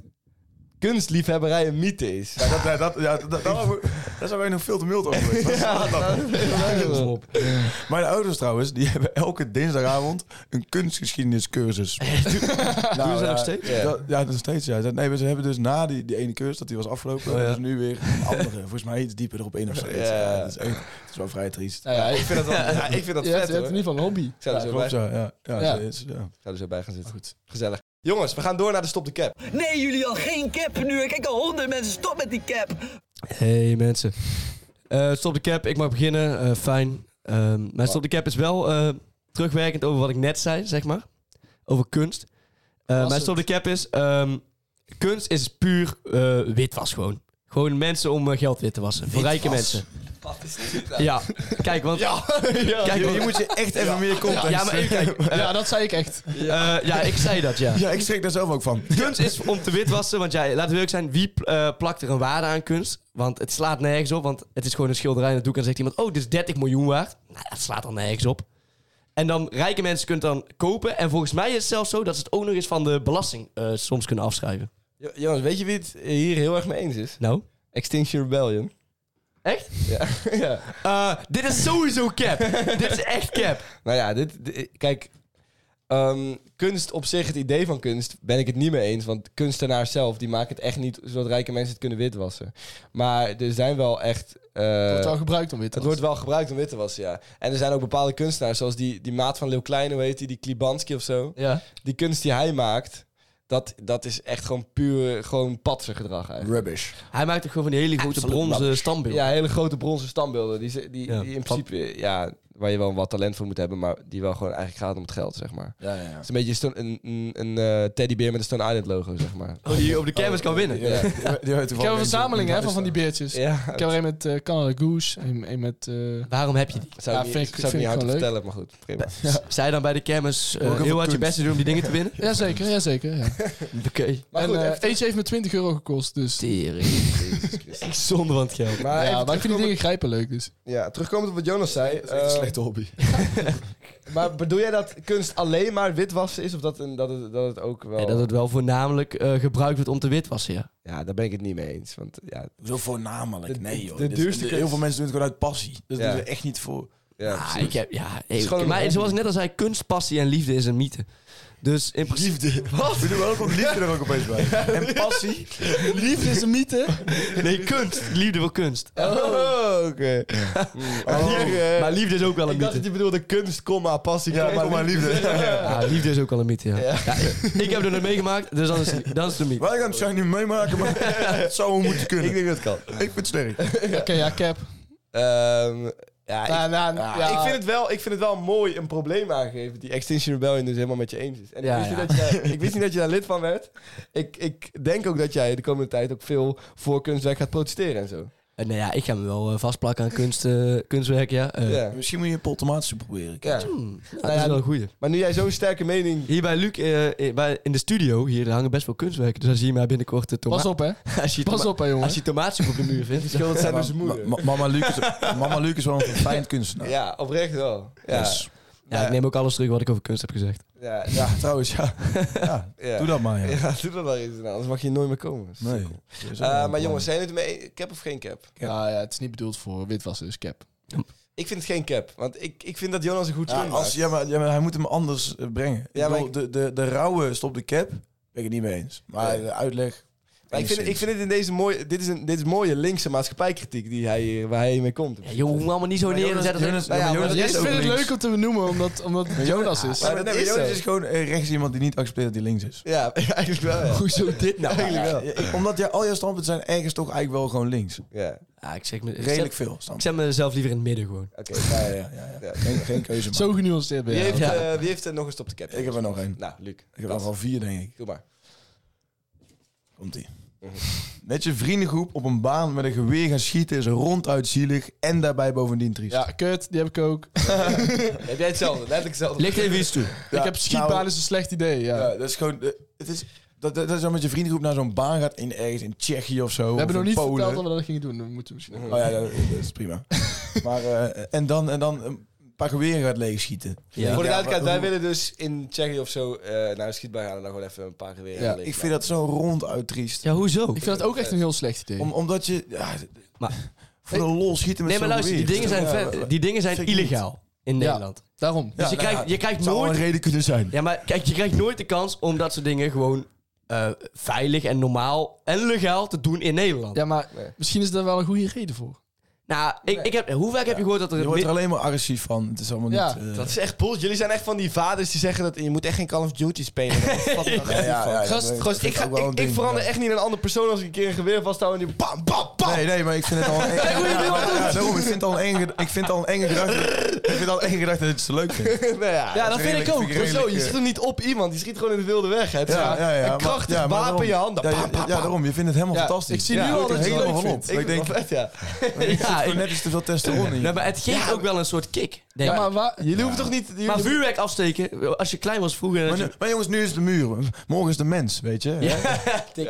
S2: kunstliefhebberij een mythe is.
S4: Ja, dat, dat, ja, dat, dat, dat, daar zijn wij nog veel te mild over. geweest. Wat is dat dan? Mijn ouders trouwens, die hebben elke dinsdagavond een kunstgeschiedeniscursus. nou,
S5: Doen ze
S4: ja,
S5: nog steeds?
S4: Ja, dat, ja, nog steeds. Ja. Dat- Nee, maar ze hebben dus na die, die ene cursus, dat die was afgelopen, hebben ze nu weer een andere. Volgens mij iets dieper erop in of zo. Ja, dat is echt, het is wel vrij triest.
S3: Nou ja,
S2: Ik vind dat, wel, ja, ik vind dat
S3: je hebt,
S2: vet
S3: je hebt in
S2: hoor. Ik
S3: ieder geval een hobby.
S2: zou er, zo, eh, bij,
S4: Klopt, ja. ja, ja,
S3: Ja.
S4: ze is- ja.
S2: zou er zo bij gaan zitten. Goed. Gezellig. Jongens, we gaan door naar de stop de cap.
S6: Nee, jullie al geen cap nu. Ik kijk al honderd mensen. Stop met die cap.
S5: Hey mensen. Eh, stop de cap, ik mag beginnen. Eh, fijn. Ehm, mijn stop de cap is wel eh, terugwerkend over wat ik net zei, zeg maar. Over kunst. Eh, mijn stop de cap is... ehm, kunst is puur eh, witwas gewoon. Gewoon mensen om eh, geld wit te wassen. Voor rijke mensen. Ja, kijk, want... Ja, kijk, want-
S4: Hier moet je echt even meer context.
S5: ja maar even kijken. Eh,
S3: ja, dat zei ik echt.
S5: eh, ja, ik zei dat, ja.
S4: Ja, ik schrik daar zelf ook van.
S5: Kunst is om te witwassen, want jij, laten we eerlijk zijn, wie eh, plakt er een waarde aan kunst? Want het slaat nergens op, want het is gewoon een schilderij en dat doek en dan zegt iemand, oh, dit is 30 miljoen waard. Nou, dat slaat dan nergens op. En dan, rijke mensen kunnen het dan kopen. En volgens mij is het zelfs zo dat ze het ook nog eens van de belasting eh, soms kunnen afschrijven.
S2: Jo- Jongens, weet je wie het hier heel erg mee eens is?
S5: Nou?
S2: Extinction Rebellion.
S5: Echt?
S2: Ja. ja.
S5: Eh, dit is sowieso cap. dit is echt cap.
S2: Nou ja, dit, dit- kijk. ehm, kunst op zich, het idee van kunst, ben ik het niet mee eens. Want kunstenaars zelf, die maken het echt niet zodat rijke mensen het kunnen witwassen. Maar er zijn wel echt... eh,
S3: Het wordt wel gebruikt om wit te
S2: het wordt wel gebruikt om wit te wassen, ja. En er zijn ook bepaalde kunstenaars, zoals die, die maat van Leeuw Klein, hoe heet die? Die Klibanski of zo.
S5: Ja.
S2: Die kunst die hij maakt, dat, dat is echt gewoon puur gewoon patsergedrag eigenlijk.
S4: Rubbish.
S5: Hij maakt ook gewoon van die hele grote
S4: Absoluut
S3: Nou,
S5: bronzen
S4: rubbish.
S5: standbeelden.
S2: Ja, hele grote bronzen standbeelden. Die, ze- die,
S5: Ja.
S2: die in principe, ja, waar je wel wat talent voor moet hebben, maar die wel gewoon eigenlijk gaat om het geld, zeg maar.
S4: Ja, ja, ja.
S2: Het is een beetje Stone- een, een, een eh, teddybeer met een Stone Island logo, zeg maar.
S5: Oh, die op de kermis kan winnen.
S4: Ja, die- die- die- die-
S3: Ik heb een verzameling hè, van, van die beertjes.
S2: Ja,
S3: Ik heb er een met eh, Canada Goose, een, een met... eh,
S5: Waarom heb je die?
S2: zou
S3: Ja,
S2: ik
S3: vind
S2: niet,
S3: ik-
S2: zou ik
S3: vind ik
S2: niet hard te
S3: gewoon leuk.
S2: vertellen, maar goed, prima.
S5: Zij dan bij de kermis eh,
S4: Ook heel
S5: heel
S4: veel
S5: hard je
S4: kunst.
S5: best te doen om die dingen te winnen?
S3: Jazeker, jazeker. Ja.
S5: Oké.
S2: Maar
S3: en
S2: goed,
S3: eh,
S2: even
S3: eentje heeft me 20 euro gekost, dus...
S5: Tering. Echt zonde van het geld.
S2: Maar,
S3: ja,
S2: even
S3: maar ik vind die
S2: terugkomen-
S3: dingen grijpen leuk, dus...
S2: ja, terugkomend op wat Jonas zei.
S4: een
S2: eh,
S4: slechte hobby.
S2: maar bedoel jij dat kunst alleen maar witwassen is? Of dat, een, dat, het, dat het ook wel...
S5: Ja, dat het wel voornamelijk eh, gebruikt wordt om te witwassen, ja.
S2: Ja, daar ben ik het niet mee eens. Want ja,
S4: Zo voornamelijk.
S2: De-
S4: nee, joh.
S2: de
S4: Dit-
S2: duurste
S4: dit-
S2: kunst.
S4: heel veel mensen doen het gewoon uit passie. Dat
S2: Ja.
S4: doen ze echt niet voor.
S2: ja
S5: Ah,
S2: precies.
S5: ik heb, ja
S2: is
S5: hey,
S2: gewoon een
S5: maar
S2: hobby.
S5: zoals ik net al zei, kunst, passie en liefde is een mythe. Dus in principe...
S4: Liefde. Wat? We doen wel ook liefde er ook opeens bij. En passie.
S3: Liefde is een mythe.
S5: Nee, kunst. Liefde voor kunst.
S2: Oh, oké. Oh.
S5: eh, Maar liefde is ook wel een
S2: Eh, Ik dacht
S5: mythe.
S2: dat je bedoelde kunst, comma, passie,
S4: Ja,
S2: comma,
S4: maar, maar liefde.
S5: Ja, liefde is ook wel een mythe, ja. Ja, ik heb er nog meegemaakt, dus dan is, dan is het een mythe.
S4: Wij gaan het zijn nu meemaken, maar het zou wel moeten kunnen.
S2: Ik
S4: Ik,
S2: denk dat het kan.
S4: vind het sterk.
S3: Oké, ja, cap.
S2: Ehm, ja, ik,
S3: Nou, nou, ja.
S2: ik vind het wel, ik vind het wel mooi een probleem aangegeven die Extinction Rebellion dus helemaal met je eens is. En
S5: Ja,
S2: ik, wist
S5: ja.
S2: Niet dat jij, ik wist niet dat je daar lid van werd. Ik, ik denk ook dat jij de komende tijd ook veel voor kunstwerk gaat protesteren en zo.
S5: Eh, nou ja, ik ga me wel eh, vastplakken aan kunst, eh, kunstwerk, ja. Eh,
S2: Ja.
S4: Misschien moet je een pot tomatensoep proberen.
S2: Ja.
S5: hmm, nou, dat
S2: Nou ja,
S5: is wel een goeie.
S2: Maar nu jij zo'n sterke mening...
S5: Hier bij Luc, eh, eh, bij, in de studio, hier hangen best wel kunstwerken. Dus als je hier maar binnenkort de
S3: Pas
S5: tomaat...
S3: op, hè.
S5: Als je
S3: Pas
S5: toma-
S3: op, hè, jongen.
S5: Als je tomaatsoep op de muur vindt,
S2: Ja, dat zijn
S4: Ma-
S2: dus moeder.
S4: ma- mama, Luc is, mama Luc is wel een fijn kunstenaar.
S2: Ja, oprecht wel. Ja,
S4: Dus,
S5: Ja, ik neem ook alles terug wat ik over kunst heb gezegd.
S2: ja, ja,
S4: ja, trouwens, ja. ja.
S2: ja.
S4: Doe dat maar, ja.
S2: Ja, doe dat maar eens. Nou, anders mag je nooit meer komen.
S4: Nee.
S2: Eh, maar jongens, zijn jullie het mee? Cap of geen cap?
S3: Ja, ja, het is niet bedoeld voor witwassen, dus cap.
S2: Ik vind het geen cap. Want ik, ik vind dat Jonas een goed
S4: Ja,
S2: punt
S4: als,
S2: maakt.
S4: ja, maar, ja, maar hij moet hem anders eh, brengen. Ik
S2: Ja, maar
S4: bedoel,
S2: ik-
S4: de, de, de rauwe stop de cap, ben ik het niet mee eens. Maar eh,
S2: Nee.
S4: de uitleg...
S2: Maar ik vind, ik vind het in deze mooie... Dit is, een, dit is mooie linkse maatschappijkritiek die hij, hier- waar hij mee komt.
S5: Ja, joh, allemaal niet zo
S4: Maar
S5: neer en
S4: Jonas-
S5: zetten.
S4: Jonas-
S5: Nou ja,
S4: maar Jonas
S5: maar
S3: Jij
S4: is
S3: vindt
S4: ook
S3: het
S4: links.
S3: leuk om te benoemen, omdat, omdat het Jonas is.
S4: Maar,
S2: dat
S4: nee,
S2: is
S4: maar Jonas
S2: zo.
S4: is gewoon eh, rechts iemand die niet accepteert dat hij links is.
S2: Ja, eigenlijk wel. Ja.
S5: Hoezo dit nou?
S2: Eigenlijk wel.
S4: Ja, ik- omdat ja, al jouw standpunten zijn ergens toch eigenlijk wel gewoon links.
S2: Ja,
S5: Ja, ik, zeg me, ik,
S4: Redelijk
S5: zet,
S4: veel
S5: ik
S4: standpunten.
S5: zet mezelf liever in het midden gewoon.
S2: oké.
S4: Ja, ja, ja, ja, ja. Geen, geen keuze, man.
S3: Zo genuanceerd ben
S2: Wie,
S3: je.
S2: heeft,
S5: Ja.
S2: eh, wie heeft er nog een stop de cap?
S4: Ik heb er nog één.
S2: Nou, Luc.
S4: Ik heb
S2: dat-
S4: er al vier, denk ik.
S2: Doe maar.
S4: Komt-ie. Met je vriendengroep op een baan met een geweer gaan schieten is ronduit zielig en daarbij bovendien triest.
S3: Ja, kut, die heb ik ook.
S2: heb jij hetzelfde? Letterlijk hetzelfde.
S5: Ligt even iets toe.
S4: Ja,
S3: ik heb schietbaan
S4: nou,
S3: is een slecht idee, ja.
S4: Ja, dat is gewoon... eh, Het is, dat, dat, dat is dan met je vriendengroep naar zo'n baan gaat in ergens in Tsjechië of zo.
S3: we hebben nog
S4: of in
S3: niet
S4: Polen.
S3: verteld dat we dat gingen doen. Dat moeten we misschien...
S4: Oh ja, dat, dat is prima. maar, eh, en dan, en dan eh, paar geweren gaat leegschieten.
S5: Ja.
S2: Voor de duidelijkheid, wij
S4: wat-
S2: willen dus in Tsjechië of zo eh naar een schietbaan gaan en dan gewoon even een paar geweren.
S3: Ja,
S2: liggen
S4: Ik vind
S2: laten.
S4: dat zo ronduit triest.
S5: Ja, hoezo?
S3: Ik vind dat ook echt een heel slecht idee.
S4: Om, omdat je... Ja,
S5: Maar-
S4: voor de lol schieten met
S5: Nee, maar
S4: zo'n
S5: luister, die
S4: geweer.
S5: dingen zijn,
S4: Ja,
S5: vet-
S4: maar-
S5: die dingen zijn
S4: Vind ik niet.
S5: illegaal in
S3: Ja.
S5: Nederland.
S3: Daarom.
S4: Ja,
S5: Dus je
S4: nou
S5: krijgt,
S4: ja,
S5: je krijgt
S4: het zou wel
S5: nooit...
S4: een reden kunnen zijn.
S5: Ja, maar kijk, je krijgt nooit de kans om dat soort dingen gewoon eh, veilig en normaal en legaal te doen in Nederland.
S3: Ja, maar misschien is daar wel een goede reden voor.
S5: Nou, ik, ik heb, hoe vaak heb je gehoord dat er...
S4: Je wordt er
S5: mi-
S4: alleen maar agressief van. Het is allemaal
S3: Ja,
S4: niet... eh,
S2: Dat is echt bullshit. Jullie zijn echt van die vaders die zeggen dat je moet echt geen Call of Duty spelen.
S4: ja, ja, ja,
S2: Gast,
S4: dat is-
S2: gast,
S4: dat
S2: ik,
S4: is
S2: ga,
S4: ook wel
S2: ik,
S4: een
S2: ik
S4: ding,
S2: verander
S4: ja.
S2: echt niet in een andere persoon als ik een keer een geweer vasthoud en die bam,
S4: Ah,
S2: bam, bam.
S4: Nee, nee, maar ik vind het al een eng... Ja, ja, daarom, ik vind het al een enge- Ik vind het al een enge gedachte... Ik vind het al een enge gedachte dat je het zo leuk vindt.
S2: Nou ja,
S5: Ja, dat vind
S4: redelijk-
S5: ik ook.
S4: vind ik
S2: Hoezo?
S4: redelijk,
S2: je
S4: eh,
S2: schiet er niet op iemand, je schiet gewoon in de wilde weg. Hè. Het is
S4: Ja,
S2: gewoon
S4: ja, ja.
S2: een
S4: maar-
S2: krachtig
S4: ja, maar
S2: wapen
S4: daarom-
S2: in je hand. Dan
S4: Ja,
S2: bam,
S4: ja,
S2: bam,
S4: ja,
S2: bam.
S4: daarom. Je vindt het helemaal
S3: Ja,
S4: fantastisch.
S3: ik zie nu al
S4: ik
S3: dat
S4: word
S3: je
S4: er
S3: het leuk
S4: helemaal van op.
S3: vindt.
S4: Ik denk,
S2: vind het wel vet, ja.
S5: Ja,
S4: gewoon
S5: ik-
S4: net is te veel testosteron in
S5: Nee,
S4: je.
S5: maar het geeft ook wel een soort kick. denk
S3: Ja,
S5: ik.
S3: maar
S5: maar,
S3: waar...
S2: Jullie hoeven toch niet... jullie-
S5: vuurwerk afsteken, als je klein was vroeger...
S4: Maar,
S5: dat
S4: nu-
S5: je-
S4: maar jongens, nu is de muur. Morgen is de mens, weet je. Ja,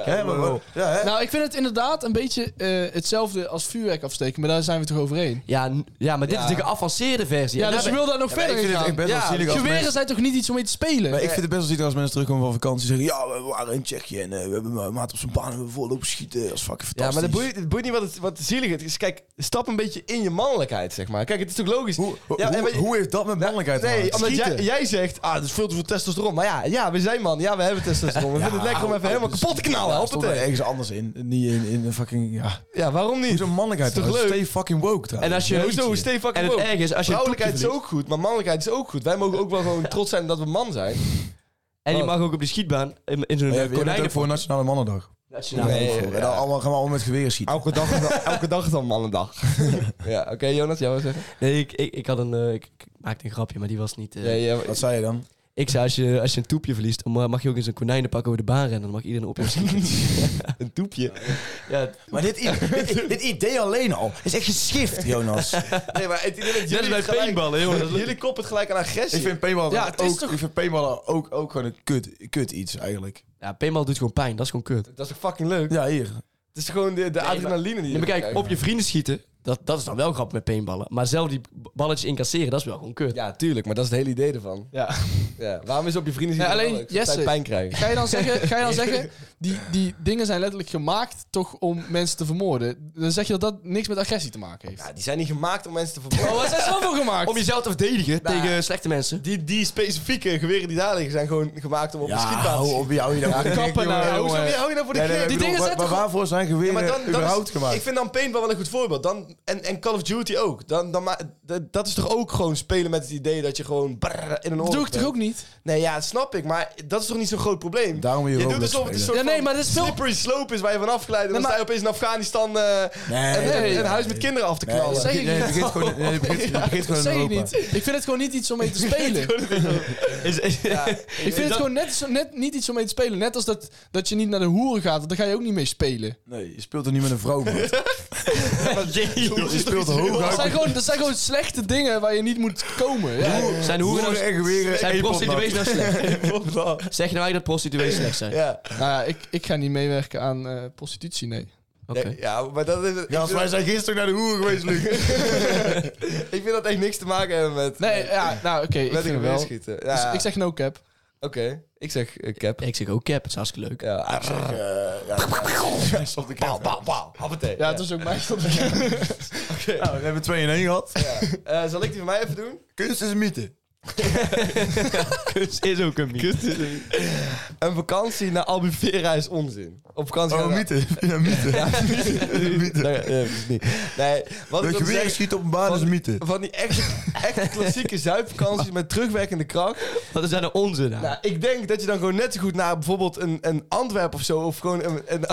S4: hè, maar, maar- ja, hè?
S3: Nou, ik vind het inderdaad een beetje eh, hetzelfde als vuurwerk afsteken, maar daar zijn we toch overheen.
S5: Ja, n- ja, maar dit
S2: Ja.
S5: is de geavanceerde versie.
S3: Ja,
S5: En
S3: dus je
S5: daar-
S3: wil daar nog
S4: Ja, maar
S3: verder
S4: ik
S3: in
S4: vind het echt
S3: gaan.
S4: best wel
S5: Ja,
S4: zielig als
S3: Geweren
S4: mensen...
S3: zijn toch niet iets om mee te spelen?
S4: Maar ik vind het best wel zielig als mensen terugkomen van vakantie en zeggen... Ja, we waren in Tsjechië en eh, we hebben een maat op zijn baan en we hebben voorlopen schieten. Dat is fucking
S2: Ja, maar
S4: fantastisch.
S2: dat boeit, het boeit niet wat, het, wat zielig het is. Kijk, stap een beetje in je mannelijkheid, zeg maar. Kijk, het is natuurlijk logisch.
S4: Hoe, hoe,
S2: Ja, en
S4: hoe,
S2: weet je-
S4: hoe heeft dat met mannelijkheid te
S2: Nee,
S4: maken?
S2: omdat jij,
S4: Schieten.
S2: jij zegt, ah, dat is veel te veel testosteron. Maar ja, ja, we zijn man. Ja, we hebben testosteron. We vinden het
S4: Nou,
S2: lekker om even helemaal kapot te knallen.
S4: Ja,
S2: Ja,
S4: nou, stond er ergens anders in. Niet in, in een fucking... Ja.
S2: ja waarom
S4: Hoe
S2: niet?
S4: zo'n mannelijkheid
S2: Is toch
S4: trouwens?
S2: leuk?
S4: Stay fucking woke trouwens.
S5: En als je...
S2: Ja, hoezo? Stay fucking
S5: En het
S2: woke.
S5: erg is, als je een
S2: Vrouwelijkheid is
S5: toetje verliest-
S2: ook goed, maar mannelijkheid is ook goed. Wij mogen ook wel gewoon trots zijn dat we man zijn.
S5: En je
S2: Wat?
S5: mag ook op de schietbaan in, in
S2: Oh
S5: zo'n eh,
S4: Ja,
S5: ja,
S4: je bent ook voor Nationale Mannendag.
S5: Nationale.
S2: Nee,
S4: en
S2: ja.
S4: dan allemaal, gaan we allemaal met geweren schieten.
S2: Elke dag, is dan- elke dag is dan mannendag. ja, oké, Jonas, jij wil zeggen?
S5: Nee, ik, ik, ik had een... eh, ik, ik maakte een grapje, maar die was niet... eh,
S2: Ja, ja,
S4: Wat zei je dan?
S5: Ik zei, als je, als je een toepje verliest, dan mag je ook eens een konijnenpak over de baan rennen. Dan mag iedereen op je schieten.
S2: een toepje.
S5: ja,
S4: Maar dit, i- dit, dit idee alleen al is echt geschift, Jonas.
S2: Nee, maar het idee dat
S5: Net als
S2: jullie
S5: bij
S2: gelijk-
S5: paintballen, jongen. Dat is-
S2: Jullie koppen het gelijk aan agressie.
S4: ik vind paintballen
S3: Ja, het is
S4: ook,
S3: toch-
S4: ik vind paintballen ook, ook gewoon een kut, kut iets eigenlijk.
S5: ja paintball doet gewoon pijn. Dat is gewoon kut.
S2: Dat is toch fucking leuk?
S4: Ja, hier.
S2: Het is gewoon de, de adrenaline die
S5: Ja,
S2: je
S5: maar kijk,
S2: krijgt.
S5: op je vrienden schieten, dat, dat is dan wel grappig met paintballen. Maar zelf die b- balletjes incasseren, dat is wel gewoon kut.
S2: Ja, tuurlijk, maar dat is het hele idee ervan.
S3: Ja.
S2: Ja, waarom is op je vrienden zien
S3: Ja,
S2: dat
S3: alleen
S2: wel leuk? Zodat zij
S3: Jesse.
S2: pijn krijgen.
S3: Ga je dan zeggen, ga je dan zeggen die, die dingen zijn letterlijk gemaakt toch om mensen te vermoorden? Dan zeg je dat dat niks met agressie te maken heeft.
S2: Ja, die zijn niet gemaakt om mensen te verbranden.
S3: Oh, wat zijn ze dan voor gemaakt?
S5: Om jezelf te verdedigen
S2: Nou,
S5: tegen slechte mensen.
S2: Die, die specifieke geweren die daar liggen zijn gewoon gemaakt om op een
S4: Ja,
S2: schietbaan te
S4: hou
S2: schieten.
S4: op, hou je dan voor de gek,
S3: kappen
S4: jongen.
S3: nou,
S2: Ja, hoezo
S3: jongen.
S2: hou je nou voor de
S4: Nee,
S2: gek?
S4: nee, ik
S3: Die
S4: bedoel,
S3: dingen
S4: wa-
S3: zijn
S4: wa-
S3: toch-
S4: waarvoor zijn geweren
S2: maar dan, dan
S4: überhaupt
S2: is,
S4: gemaakt?
S2: ik vind dan paintball wel een goed voorbeeld. Dan, en, en Call of Duty ook. Dan, dan, ma- dat- dat is toch ook gewoon spelen met het idee dat je gewoon brrr in een
S3: dat
S2: oorlog
S3: doe ik toch
S2: bent?
S3: ook niet?
S2: Nee, ja, snap ik. Maar dat is toch niet zo'n groot probleem?
S4: Daarom wil je
S2: je doet
S4: Roblox
S2: alsof het een soort
S4: spelen.
S3: Ja, nee,
S2: van
S3: maar dat is wel-
S2: slippery slope is waar je van afgeleid. En
S3: Nee,
S2: dan
S3: maar-
S2: sta je opeens in Afghanistan eh, en,
S4: nee,
S2: en-
S4: nee,
S2: een huis
S4: nee.
S2: met kinderen af te
S4: Nee,
S2: knallen.
S3: zeg
S4: nee,
S3: ik
S4: nee,
S3: niet.
S4: het begint gewoon- nee, het begint- het begint
S3: Dat
S4: gewoon
S3: zeg
S4: in
S3: ik
S4: Europa.
S3: niet. Ik vind het gewoon niet iets om mee te spelen. Ik vind het gewoon net, zo- net niet iets om mee te spelen. Net als dat, dat je niet naar de hoeren gaat, want daar ga je ook niet mee spelen.
S4: Nee, je speelt er niet met een vrouw, man. Je
S5: Jee.
S4: speelt hooguit
S3: Dat zijn, gewoon, dat zijn gewoon slechte dingen waar je niet moet komen. Ja.
S5: Zijn hoeren nou-
S4: hoeren en geweren
S5: zijn
S4: en
S5: prostituees nou
S4: potnat.
S5: slecht? zeg je nou eigenlijk dat prostituees slecht zijn?
S2: Ja.
S3: Nou ja, ik, ik ga niet meewerken aan eh, prostitutie, nee.
S5: Oké.
S2: Ja, ja, maar dat is... ik,
S4: Ja, als
S2: vind
S4: wij zijn gisteren naar de hoeren geweest, Luc.
S2: dat, ik vind dat echt niks te maken hebben met...
S3: Nee, ja, nou oké, ik
S2: met
S3: vind
S2: een
S3: het wel.
S2: schieten. Ja,
S3: Dus
S2: ja.
S3: ik zeg no cap.
S2: Oké, ik zeg eh, cap.
S5: Ik zeg ook cap, het is hartstikke leuk.
S2: Ja, ah,
S4: Eh, ja, ja, stop de
S2: Pauw,
S4: cap.
S2: pauw, pauw. Hoppatee.
S3: Ja, het was ook mijn stop.
S4: Nou, we hebben 2 in 1 gehad.
S2: Eh, zal ik die van mij even doen?
S4: Kunst is een mythe.
S5: Kunst is ook een mythe.
S2: Een vakantie naar Albufeira is onzin. Op vakantie
S4: Oh,
S2: gaan
S4: een
S2: we-
S4: mythe. Ja, mythe.
S2: Nee, nee, precies niet. Nee, wat ik
S4: Dat
S2: wil
S4: geweer
S2: zeggen...
S4: schiet op een baan is een mythe.
S2: Van die echte, echte klassieke zuipvakanties met terugwerkende kracht.
S5: Wat is daar nou onzin aan?
S2: Nou, ik denk dat je dan gewoon net zo goed naar bijvoorbeeld een, een Antwerp of zo... of gewoon een, een,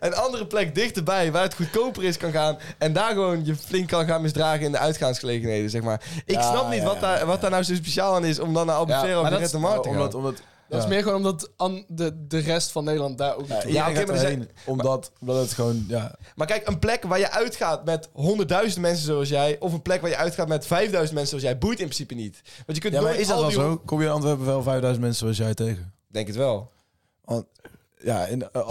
S2: een andere plek dichterbij waar het goedkoper is kan gaan... en daar gewoon je flink kan gaan misdragen in de uitgaansgelegenheden, zeg maar. Ik
S4: Ja,
S2: snap niet
S4: ja,
S2: wat,
S4: ja,
S2: daar, wat daar nou zo speciaal aan is om dan naar Albufeira
S3: Ja,
S2: of
S3: maar
S2: de
S3: dat is-
S2: Red de Mar te gaan.
S4: Omdat, omdat,
S3: Dat is meer gewoon omdat an- de, de rest van Nederland daar ook niet
S4: ja,
S3: toe.
S4: ja,
S2: oké, maar er zijn-
S4: omdat, omdat het gewoon, ja.
S2: Maar kijk, een plek waar je uitgaat met 100.000 mensen zoals jij... of een plek waar je uitgaat met 5.000 mensen zoals jij... boeit in principe niet. Want je kunt
S4: Ja, maar
S2: nooit
S4: is dat
S2: al
S4: wel
S2: die
S4: zo? Kom je in Antwerpen wel 5000 mensen zoals jij tegen?
S2: Denk het wel.
S4: Want, eh, ja, in uh,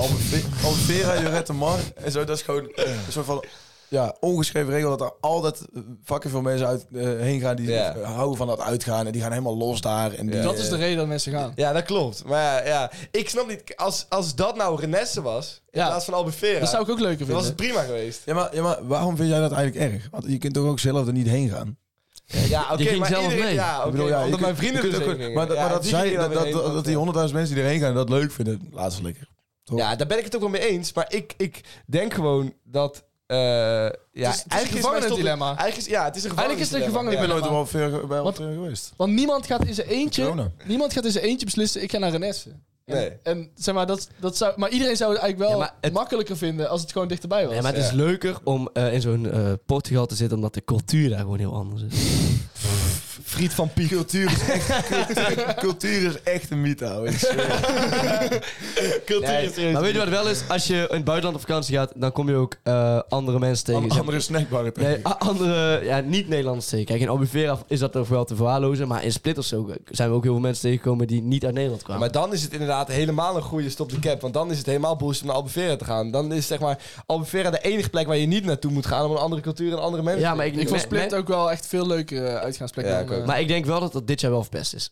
S4: Albufeira, Jurette Mar en zo, dat is gewoon een soort van ja, ongeschreven regel dat er altijd fucking veel mensen uit, eh, heen gaan die
S2: Ja.
S4: houden van dat uitgaan. En die gaan helemaal los daar. En die,
S2: Ja.
S3: Dat is de reden dat mensen gaan.
S2: Ja, dat klopt. Maar ja, ja, ik snap niet. Als, als dat nou Renesse was, in
S3: Ja.
S2: plaats van Albufeira,
S3: Dat zou ik ook leuker
S2: dan was
S3: vinden.
S2: het prima geweest.
S4: Ja, maar, ja, maar waarom vind jij dat eigenlijk erg? Want je kunt toch ook zelf er niet heen gaan?
S2: Ja, oké,
S5: ging
S2: maar
S5: zelf
S2: iedereen-
S5: mee.
S2: Ja,
S4: Ik
S2: oké,
S4: bedoel, ja, je
S2: omdat
S4: kunt-
S2: mijn
S4: je
S2: vrienden
S4: kunt
S2: dus
S4: ook-
S2: heen
S4: Maar,
S2: gingen.
S4: maar
S2: Ja,
S4: dat,
S2: die
S4: zij,
S2: gingen
S4: dat,
S2: dan weer
S4: dat,
S2: heen.
S4: dat die honderdduizend mensen die erheen gaan dat leuk vinden, laat ze lekker.
S2: Ja, daar ben ik het ook wel mee eens. Maar ik, ik denk gewoon dat... eh ja, eigenlijk is mijn stop-
S3: gevangenisdilemma.
S2: Eigenlijk is, ja, het is een
S3: Eigenlijk is het een
S2: gevangenis.
S4: Ik ben nooit
S3: Ja.
S4: op Albufeira- bij Albufeira geweest.
S3: Want niemand gaat in zijn eentje,
S4: Corona.
S3: niemand gaat in zijn eentje beslissen, ik ga naar Renesse. En,
S2: Nee.
S3: en zeg maar, dat, dat zou, maar iedereen zou het eigenlijk wel
S5: Ja, maar het-
S3: makkelijker vinden als het gewoon dichterbij was.
S5: Nee, maar het is leuker om eh, in zo'n eh, Portugal te zitten, omdat de cultuur daar gewoon heel anders is.
S4: Friet van Piek. Cultuur is echt, cultuur, cultuur is echt een mythe, ouwe. Ik zweer.
S5: maar weet je wat wel is? Als je in het buitenland op vakantie gaat, dan kom je ook eh, andere mensen tegen.
S4: An-
S5: Zeg-
S4: Andere snackbarren tegen.
S5: Nee, a- andere, ja, niet-Nederlanders tegen. Kijk, in Albufeira is dat nog wel te verwaarlozen, maar in Split of zo zijn we ook heel veel mensen tegengekomen die niet uit Nederland kwamen.
S2: Maar dan is het inderdaad helemaal een goede stop de cap. Want dan is het helemaal bullshit om naar Albufeira te gaan. Dan is zeg maar Albufeira de enige plek waar je niet naartoe moet gaan... om een andere cultuur en andere mensen
S5: ja, maar ik,
S3: ik vond
S5: me-
S3: Split
S5: me-
S3: ook wel echt veel leukere uitgaansplekken.
S2: Ja,
S3: dan,
S2: ik ook.
S3: eh,
S5: Maar ik denk wel dat dat dit jaar wel verpest is.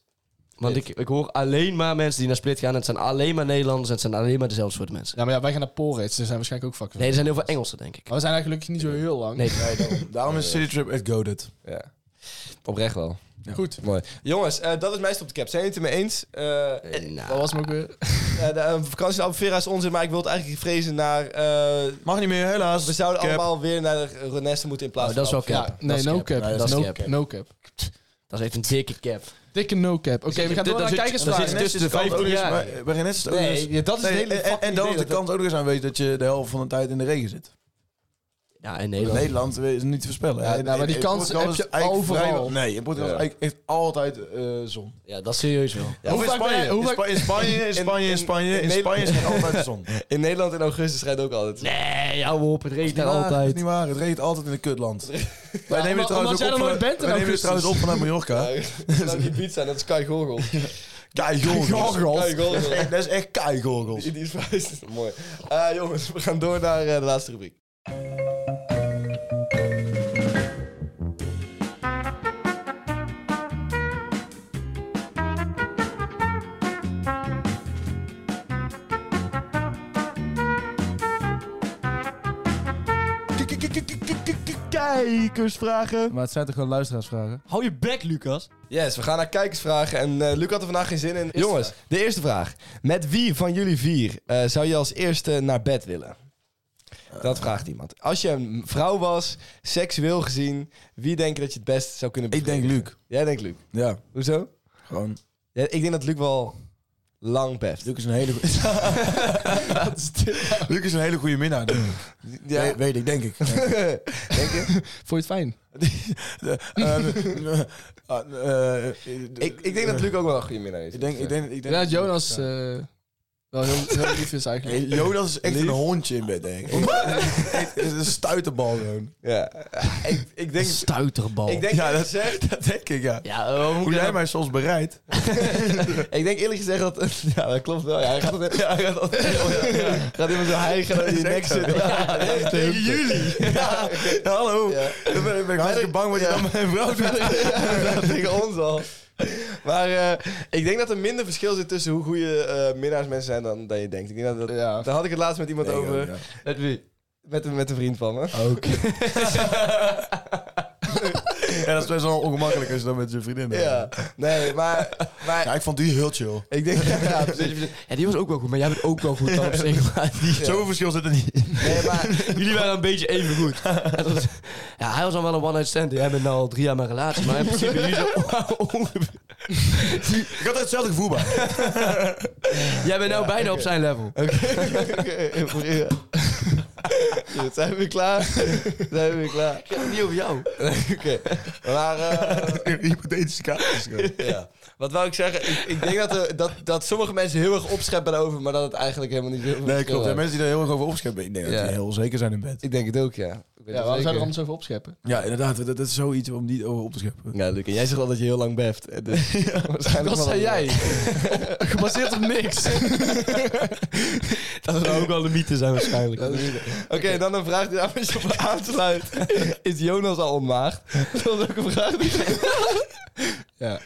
S5: Want ik, ik hoor alleen maar mensen die naar Split gaan. En het zijn alleen maar Nederlanders en het zijn alleen maar dezelfde soort mensen.
S3: ja, maar ja, wij gaan naar Polrits, dus er zijn waarschijnlijk ook vakken.
S5: Nee, er zijn heel veel Engelsen, denk ik.
S3: Maar we zijn eigenlijk gelukkig niet zo heel lang.
S5: Nee.
S4: Daarom is Citytrip echt goaded.
S2: Ja. Oprecht wel.
S3: Goed,
S2: Mooi. Jongens, eh, dat is mijn stop de cap. Zijn jullie het ermee eens? Eh, eh,
S5: Nou,
S3: dat was hem ook weer.
S2: eh, de eh, vakantie naar Albufeira is onzin, maar ik wil het eigenlijk vrezen naar... eh,
S4: Mag niet meer, helaas.
S2: we zouden
S4: Cap.
S2: allemaal weer naar de Renesse moeten in plaats
S5: oh, dat is
S2: van
S5: wel cap.
S3: Ja, nee,
S5: is
S3: no cap.
S5: Nee, dat is
S3: no,
S5: cap.
S3: no cap.
S5: Dat is echt een dikke cap.
S3: Dikke no cap. Oké, we gaan door naar
S5: Dus Daar zit- daar
S3: kijkersvragen.
S5: zit tussen de
S4: Ook
S5: 15
S4: nog eens-
S5: jaar.
S4: maar- maar net is het ook nog
S2: Albufeira.
S4: eens-
S2: Nee, ja, dat is
S4: Nee,
S2: het hele
S4: en, en
S2: fucking
S4: dan is
S2: idee
S4: de
S2: dat-
S4: kans ook nog eens aanwezig dat je de helft van de tijd in de regen zit.
S5: Ja, in
S4: In
S5: Nederland.
S4: Nederland is niet te voorspellen.
S3: Ja,
S4: In-
S3: nou, maar die
S4: in
S3: kans
S4: Portugal
S3: heb
S4: is
S3: je
S4: het eigenlijk
S3: overal.
S4: vrijwel- nee, in Portugal
S2: Ja.
S4: is het eigenlijk echt altijd eh, zon.
S5: Ja, dat is serieus wel.
S4: Ja,
S3: Hoe
S4: in
S3: vaak ben
S4: Spanje,
S3: jij- hoe
S4: in
S3: vaak-
S4: Spa- in Spanje, in Spanje, in Spanje, in
S2: in
S4: Spanje is het altijd zon.
S2: In Nederland in augustus schijnt ook altijd.
S5: Nee, hou op. Het regent daar
S4: Ja, dat is
S5: altijd.
S4: niet waar. Het regent altijd in het kutland. wij nemen
S3: omdat-
S4: het trouwens
S3: omdat jij
S4: ook
S3: er
S4: op
S3: nooit
S4: vanuit-
S3: bent in
S4: wij nemen
S3: augustus.
S4: het trouwens op vanuit Mallorca.
S2: Dat is pizza, dat is Kai Gorgel.
S4: Kei gorgels.
S2: Kei gorgels.
S4: Dat is echt- Dat is echt kei gorgels.
S2: Die is vuist. Mooi. Eh, jongens, we gaan door naar eh, de laatste rubriek. Kijkersvragen.
S7: Maar het zijn toch gewoon luisteraarsvragen?
S5: Hou je bek, Lucas.
S2: Yes, we gaan naar kijkersvragen. En eh, Luc had er vandaag geen zin in. Jongens, de eerste vraag. Met wie van jullie vier eh, zou je als eerste naar bed willen? Dat vraagt iemand. Als je een vrouw was, seksueel gezien, wie denk je dat je het best zou kunnen
S4: Ik denk
S2: bevredigen?
S4: Luc.
S2: Jij denkt Luc.
S4: Ja,
S2: Hoezo?
S4: gewoon.
S2: Ja, ik denk dat Luc wel lang beft.
S4: Luc is een hele goede... Luc is een hele goede minnaar, denk ik.
S2: Ja.
S4: We- Weet ik, denk ik. Eh,
S3: Vond je het fijn?
S4: De- eh, eh, eh,
S2: ik, ik denk dat Luc ook wel een goede minnaar is.
S4: Ik denk, ik denk, ik denk
S3: Ja, Jonas eh, wel heel, heel lief is eigenlijk.
S4: Hey, Jonas is echt een hondje in bed, denk ik. Het is een stuiterbal gewoon.
S2: Ja. Ik, ik denk...
S5: Stuiterbal.
S2: Ik denk,
S4: Ja,
S2: eerlijk gezegd,
S4: Dat denk ik, ja.
S5: Ja, eh, hoe
S4: Hoe jij mij soms bereidt.
S2: ik denk eerlijk gezegd dat... Ja, dat klopt wel. Ja, hij gaat, altijd- ja, hij gaat, altijd- ja. gaat iemand zo hijgen en in je nek zitten. Ja, echt de
S4: Tegen
S2: hele tijd.
S4: jullie. Ja, hallo.
S2: Ja.
S4: Dan ben ik- ben ik hartstikke bang wat je dan met mijn vrouw doet.
S2: Ja, tegen ons al. Maar eh, ik denk dat er minder verschil zit tussen hoe goede eh, minnaars mensen zijn dan, dan je denkt. Ik denk dat, dat-
S3: Ja.
S2: Daar had ik het laatst met iemand over.
S4: Ja. Oh,
S5: Met wie?
S2: Met, een, met een vriend van me.
S4: Ja, dat is best wel ongemakkelijk als je dan met je vriendin bent.
S2: Ja. Nee, maar... maar
S4: Ja, ik vond die heel chill.
S2: Ik denk... Ja, precies.
S5: Ja, die was ook wel goed, maar jij bent ook wel goed dan op zich. Maar die-
S4: Zoveel verschil zit er niet in.
S2: Nee, maar...
S5: Jullie waren een beetje even goed. En dat was- Ja, hij was al wel een one-night stand. Jij bent nou al drie jaar mijn relatie, maar in principe jullie zijn ongeveer...
S4: Ik had hetzelfde gevoel bij.
S5: Jij bent nou bijna op zijn level.
S2: Oké, proberen. Goed, zijn we weer klaar? Zijn we weer klaar?
S5: Niet over jou.
S2: Oké. Maar... eh,
S4: Hypothetische kaartjes.
S2: ja. Wat wou ik zeggen? Ik, ik denk dat, er- dat, dat sommige mensen heel erg opscheppen over, maar dat het eigenlijk helemaal niet... heel veel
S4: Nee,
S2: verschil
S4: klopt. Ja,
S2: heeft.
S4: mensen die daar heel erg over opscheppen. Ik denk dat
S2: Ja.
S4: die heel zeker zijn in bed.
S2: Ik denk het ook, ja. Ik weet het
S3: Ja, waarom zou je
S2: zeker.
S3: er anders over opscheppen?
S4: Ja, inderdaad. Dat, dat is zoiets om niet over op te scheppen.
S2: Ja, Luc, en jij zegt al dat je heel lang beft. eh, Dus waarschijnlijk wel
S3: Dat zei
S2: een-
S3: jij. Gebaseerd op niks.
S5: Dat zou ook wel de mythe zijn waarschijnlijk.
S2: Dat is- Oké, dan een vraag die daar een beetje op aansluit. Is Jonas al ontmaagd? Dat was ook een vraag die...
S3: Ja.